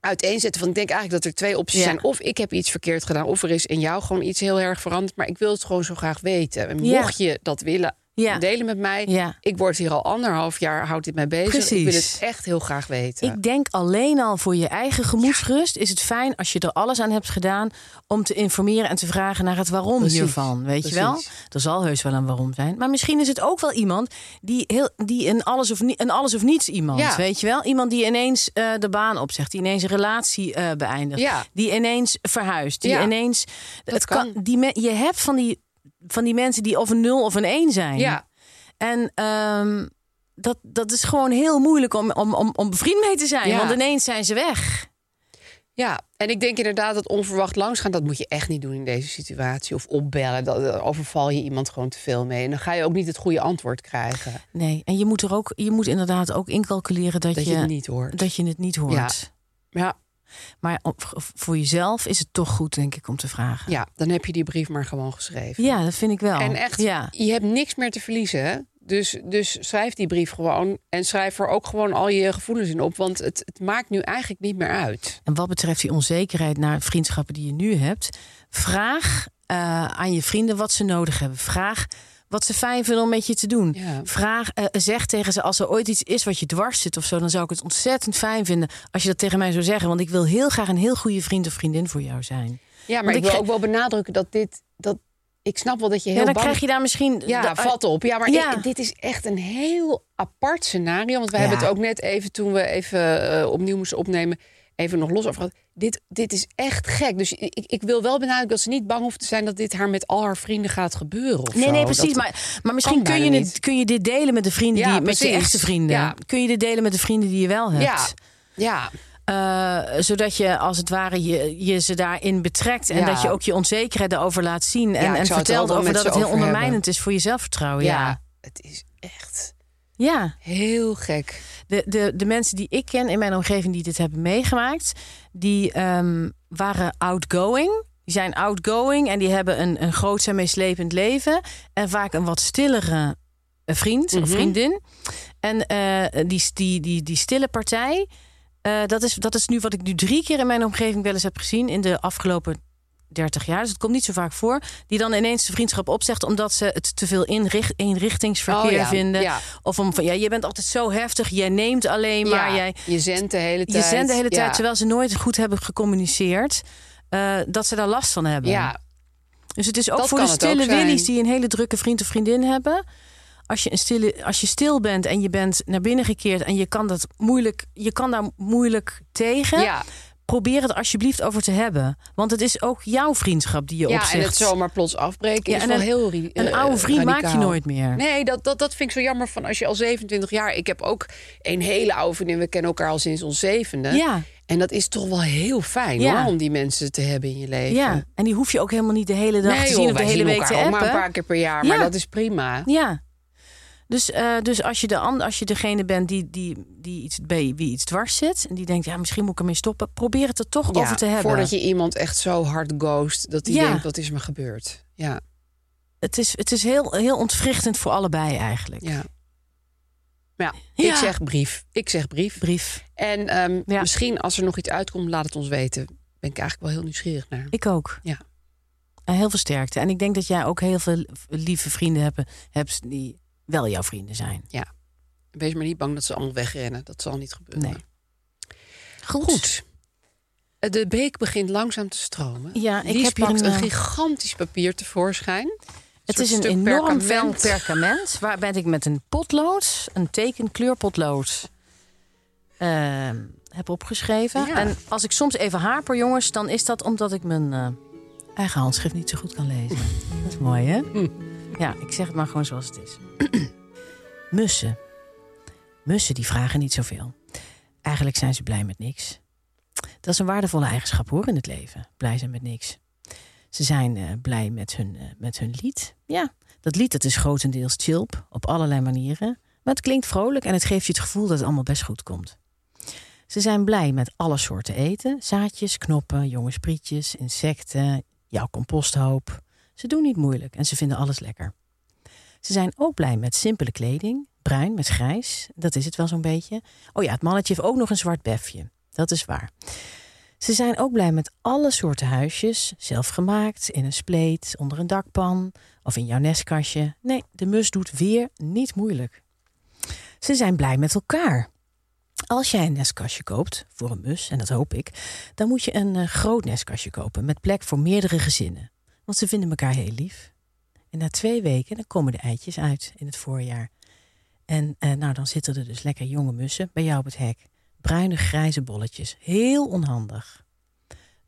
B: uiteenzetten. Want ik denk eigenlijk dat er twee opties
C: Ja.
B: zijn. Of ik heb iets verkeerd gedaan. Of er is in jou gewoon iets heel erg veranderd. Maar ik wil het gewoon zo graag weten. En
C: Ja.
B: mocht je dat willen
C: Ja.
B: delen met mij.
C: Ja.
B: Ik word hier al anderhalf jaar, houdt dit mij bezig. Ik wil
C: Precies.
B: het echt heel graag weten.
C: Ik denk alleen al voor je eigen gemoedsrust is het fijn als je er alles aan hebt gedaan om te informeren en te vragen naar het waarom
B: Precies,
C: hiervan. Weet je wel?
B: precies.
C: Er zal heus wel een waarom zijn. Maar misschien is het ook wel iemand die, heel, die een, alles of ni- een alles of niets iemand,
B: Ja.
C: weet je wel? Iemand die ineens eh, de baan opzegt, die ineens een relatie eh, beëindigt,
B: Ja.
C: die ineens verhuist, die
B: Ja.
C: ineens. het kan,
B: kan.
C: die me- je hebt van die, van die mensen die of een nul of een één zijn.
B: ja,
C: En ehm, dat, dat is gewoon heel moeilijk om, om, om, om bevriend mee te zijn.
B: Ja.
C: Want ineens zijn ze weg.
B: ja, en ik denk inderdaad dat onverwacht langsgaan... dat moet je echt niet doen in deze situatie. Of opbellen, dat- daar overval je iemand gewoon te veel mee. En dan ga je ook niet het goede antwoord krijgen.
C: Nee, en je moet, er ook, je moet inderdaad ook incalculeren dat,
B: Dat je het niet hoort.
C: dat je het niet hoort.
B: Ja,
C: Maar op- voor jezelf is het toch goed, denk ik, om te vragen.
B: ja, dan heb je die brief maar gewoon geschreven.
C: Ja, dat vind ik wel.
B: En echt,
C: Ja,
B: je hebt niks meer te verliezen. hè? Dus, dus schrijf die brief gewoon. En schrijf er ook gewoon al je gevoelens in op. Want het, het maakt nu eigenlijk niet meer uit.
C: En wat betreft die onzekerheid naar vriendschappen die je nu hebt, vraag eh, aan je vrienden wat ze nodig hebben. Vraag wat ze fijn vinden om met je te doen.
B: Ja.
C: Vraag, eh, zeg tegen ze als er ooit iets is wat je dwars zit of zo, dan zou ik het ontzettend fijn vinden als je dat tegen mij zou zeggen. Want ik wil heel graag een heel goede vriend of vriendin voor jou zijn.
B: Ja, maar
C: Want
B: ik,
C: ik
B: wil
C: ge-
B: ook wel benadrukken dat dit... Dat, ik snap wel dat je heel
C: Ja, dan
B: bang
C: krijg je daar misschien.
B: Ja,
C: da-
B: valt op. Ja, maar
C: Ja.
B: ik- dit is echt een heel apart scenario. Want wij
C: Ja.
B: hebben het ook net even, toen we even eh, opnieuw moesten opnemen... even nog los over gehad. Dit, dit is echt gek. Dus ik, ik wil wel benadrukken dat ze niet bang hoeft te zijn... dat dit haar met al haar vrienden gaat gebeuren. Of
C: Nee,
B: zo.
C: nee, precies.
B: Dat-
C: maar, maar misschien kun je,
B: bijna
C: het,
B: niet.
C: kun je dit delen met de vrienden
B: Ja,
C: die, met je
B: precies.
C: echte vrienden.
B: Ja.
C: Kun je dit delen met de vrienden die je wel hebt?
B: Ja, ja.
C: Eh, zodat je als het ware je, je ze daarin betrekt. En
B: Ja.
C: dat je ook je onzekerheden over laat zien. En,
B: Ja, ik
C: en
B: zou het er ook
C: vertelt
B: wel
C: over
B: met
C: dat
B: ze
C: het heel
B: over hebben.
C: ondermijnend is voor je zelfvertrouwen.
B: ja.
C: Ja.
B: het is echt
C: Ja,
B: Heel gek.
C: de, de, de mensen die ik ken in mijn omgeving die dit hebben meegemaakt, die ehm, waren outgoing. Die zijn outgoing en die hebben een, een groots en meeslepend leven. En vaak een wat stillere eh, vriend
B: Mhm.
C: of vriendin. En eh, die, die, die, die stille partij, eh, dat, is, dat is nu wat ik nu drie keer in mijn omgeving wel eens heb gezien in de afgelopen 30 jaar. Dus het komt niet zo vaak voor. Die dan ineens de vriendschap opzegt omdat ze het te veel inricht, inrichtingsverkeer
B: Oh ja,
C: vinden.
B: ja.
C: Of om van ja, je bent altijd zo heftig, jij neemt alleen maar,
B: Ja,
C: jij
B: je zendt de hele tijd.
C: je zendt de hele tijd,
B: Ja.
C: terwijl ze nooit goed hebben gecommuniceerd, eh, dat ze daar last van hebben.
B: Ja,
C: Dus het is ook
B: dat
C: voor de
B: kan het
C: stille
B: ook zijn.
C: willies die een hele drukke vriend of vriendin hebben. Als je, een stille, als je stil bent en je bent naar binnen gekeerd en je kan, dat moeilijk, je kan daar moeilijk tegen,
B: ja.
C: probeer het alsjeblieft over te hebben. Want het is ook jouw vriendschap die je
B: ja en
C: opzegt.
B: het zomaar plots afbreken
C: Ja,
B: is
C: en
B: wel
C: een-
B: heel ri-
C: een
B: eh,
C: oude vriend maak je
B: radicaal.
C: nooit meer.
B: Nee, dat, dat, dat vind ik zo jammer van als je al 27 jaar... Ik heb ook een hele oude vriendin. We kennen elkaar al sinds ons zevende.
C: Ja.
B: En dat is toch wel heel fijn
C: Ja.
B: hoor, om die mensen te hebben in je leven.
C: Ja, en die hoef je ook helemaal niet de hele dag te zien
B: joh,
C: of de
B: wij
C: hele
B: zien
C: week
B: elkaar
C: te
B: ook
C: appen.
B: maar een paar keer per jaar. Maar
C: Ja.
B: dat is prima.
C: Ja. Dus, eh, dus als, je de, an- als je degene bent die, die, die iets, bij wie iets dwars zit... en die denkt, ja, misschien moet ik ermee stoppen... probeer het er toch
B: Ja,
C: over te hebben.
B: Voordat je iemand echt zo hard ghost dat hij
C: Ja.
B: denkt, wat is me gebeurd? Ja,
C: Het is, het is heel, heel ontwrichtend voor allebei eigenlijk.
B: ja. Maar ja,
C: Ja.
B: ik zeg brief. Ik zeg brief.
C: Brief.
B: En ehm,
C: Ja.
B: misschien als er nog iets uitkomt, laat het ons weten. Ben ik eigenlijk wel heel nieuwsgierig naar.
C: Ik ook.
B: Ja.
C: En heel veel sterkte. En ik denk dat jij ook heel veel lieve vrienden hebt, hebt die wel jouw vrienden zijn.
B: Wees maar niet bang dat ze allemaal wegrennen. Dat zal niet gebeuren.
C: Nee.
B: Goed. Eh, De beek begint langzaam te stromen.
C: Ja, ik
B: Lies
C: heb hier
B: pakt
C: een,
B: een
C: eh,
B: gigantisch papier tevoorschijn.
C: Het
B: soort
C: is een
B: stuk
C: enorm vel
B: perkament.
C: perkament. Waar ben ik met een potlood, een tekenkleurpotlood, ehm, heb opgeschreven.
B: Ja.
C: En als ik soms even haper, jongens, dan is dat omdat ik mijn eh, eigen handschrift niet zo goed kan lezen. dat is mooi, hè? Ja, ik zeg het maar gewoon zoals het is. Mussen. Mussen die vragen niet zoveel. Eigenlijk zijn ze blij met niks. Dat is een waardevolle eigenschap hoor in het leven. Blij zijn met niks. Ze zijn eh, blij met hun, eh, met hun lied. Ja, dat lied dat is grotendeels chilp op allerlei manieren. Maar het klinkt vrolijk en het geeft je het gevoel dat het allemaal best goed komt. Ze zijn blij met alle soorten eten. Zaadjes, knoppen, jonge sprietjes, insecten, jouw composthoop. Ze doen niet moeilijk en ze vinden alles lekker. Ze zijn ook blij met simpele kleding. Bruin met grijs, dat is het wel zo'n beetje. Oh ja, het mannetje heeft ook nog een zwart befje. Dat is waar. Ze zijn ook blij met alle soorten huisjes, zelfgemaakt, in een spleet, onder een dakpan of in jouw nestkastje. Nee, de mus doet weer niet moeilijk. Ze zijn blij met elkaar. Als jij een nestkastje koopt voor een mus, en dat hoop ik, dan moet je een eh, groot nestkastje kopen met plek voor meerdere gezinnen. Want ze vinden elkaar heel lief. En na twee weken dan komen de eitjes uit in het voorjaar. En eh, nou, dan zitten er dus lekker jonge mussen bij jou op het hek. Bruine grijze bolletjes. Heel onhandig.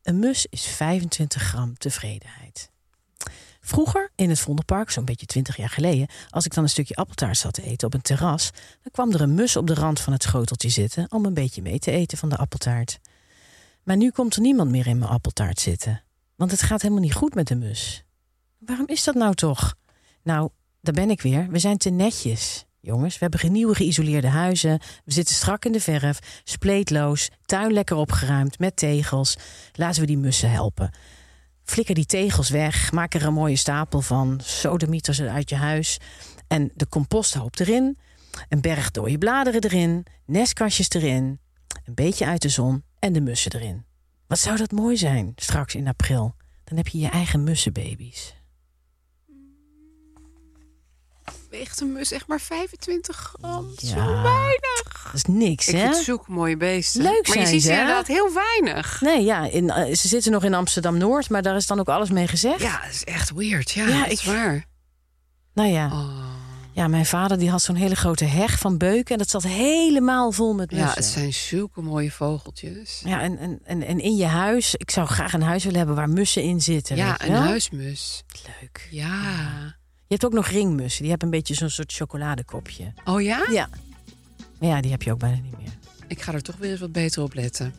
C: Een mus is 25 gram tevredenheid. Vroeger in het Vondelpark, zo'n beetje 20 jaar geleden, als ik dan een stukje appeltaart zat te eten op een terras, dan kwam er een mus op de rand van het schoteltje zitten om een beetje mee te eten van de appeltaart. Maar nu komt er niemand meer in mijn appeltaart zitten, want het gaat helemaal niet goed met de mus. Waarom is dat nou toch? Nou, daar ben ik weer. We zijn te netjes. Jongens, we hebben nieuwe geïsoleerde huizen. We zitten strak in de verf, spleetloos, tuin lekker opgeruimd, met tegels. Laten we die mussen helpen. Flikker die tegels weg, maak er een mooie stapel van. Sodemieter ze uit je huis. En de composthoop erin. Een berg dode bladeren erin. Nestkastjes erin. Een beetje uit de zon en de mussen erin. Wat zou dat mooi zijn straks in april? Dan heb je je eigen mussenbaby's.
B: Weegt een mus echt maar 25 gram?
C: Ja. Dat is niks,
B: Ik
C: hè?
B: vind zulke mooie beesten.
C: Leuk
B: maar
C: zijn
B: je ziet
C: ze, hè?
B: inderdaad heel weinig.
C: Nee, ja, in, eh, ze zitten nog in Amsterdam-Noord, maar daar is dan ook alles mee gezegd.
B: Ja, dat is echt weird. Ja,
C: Ja,
B: dat is
C: ik-
B: waar.
C: Nou ja,
B: Oh.
C: ja, mijn vader die had zo'n hele grote heg van beuken... en dat zat helemaal vol met
B: Ja, het
C: mussen.
B: zijn zulke mooie vogeltjes.
C: Ja, en, en, en, en in je huis. Ik zou graag een huis willen hebben waar mussen in zitten. weet
B: Ja,
C: je
B: een
C: wel?
B: huismus.
C: Leuk.
B: Ja.
C: Je hebt ook nog ringmussen. Die hebben een beetje zo'n soort chocoladekopje.
B: Oh ja?
C: Ja. Maar ja, die heb je ook bijna niet meer.
B: Ik ga er toch weer eens wat beter op letten.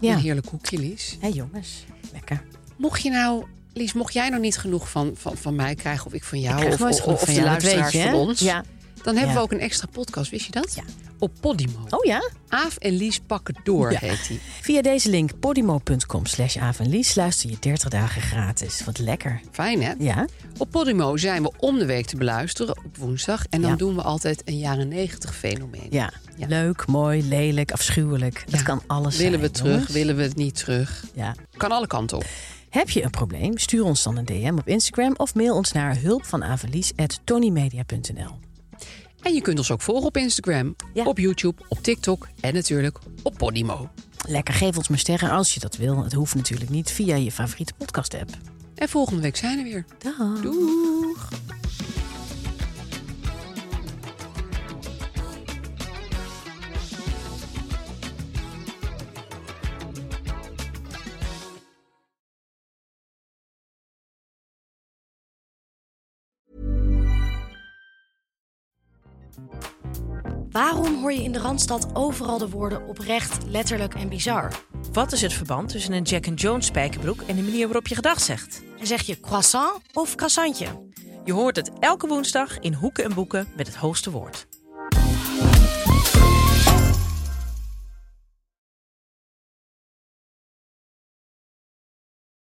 C: Ja.
B: Een
C: Hé
B: heerlijk hoekje, Lies.
C: jongens, lekker.
B: Mocht je nou, Lies, mocht jij nog niet genoeg van, van, van mij krijgen... of ik van jou,
C: Ik krijg
B: of,
C: nooit
B: of,
C: genoeg
B: of
C: van
B: de
C: jou, dat weet
B: luisteraars
C: je, hè?
B: van ons...
C: Ja.
B: Dan hebben
C: Ja.
B: we ook een extra podcast, wist je dat?
C: Ja.
B: Op Podimo.
C: Oh ja?
B: Aaf en Lies pakken door, heet die.
C: Via deze link podimo.com slash avanlies luister je 30 dagen gratis. Wat lekker.
B: Fijn, hè?
C: Ja?
B: Op Podimo zijn we om de week te beluisteren op woensdag. En dan
C: Ja.
B: doen we altijd een jaren negentig fenomeen.
C: Ja.
B: Ja.
C: Leuk, mooi, lelijk, afschuwelijk. Het
B: Ja.
C: kan alles
B: Willen
C: zijn,
B: we terug,
C: jongens.
B: willen we het niet terug?
C: Ja.
B: Kan alle kanten op.
C: Heb je een probleem? Stuur ons dan een DM op Instagram of mail ons naar hulpvanavalies.tonymedia.nl.
B: En je kunt ons ook volgen op Instagram,
C: Ja.
B: op YouTube, op TikTok en natuurlijk op Podimo.
C: Lekker, geef ons maar sterren als je dat wil. Het hoeft natuurlijk niet via je favoriete podcast-app.
B: En volgende week zijn we weer.
C: Dag.
B: Doeg!
E: Waarom hoor je in de Randstad overal de woorden oprecht, letterlijk en bizar?
F: Wat is het verband tussen een Jack and Jones spijkerbroek en de manier waarop je gedag zegt?
E: En zeg je croissant of croissantje?
F: Je hoort het elke woensdag in Hoeken en Boeken met het hoogste woord.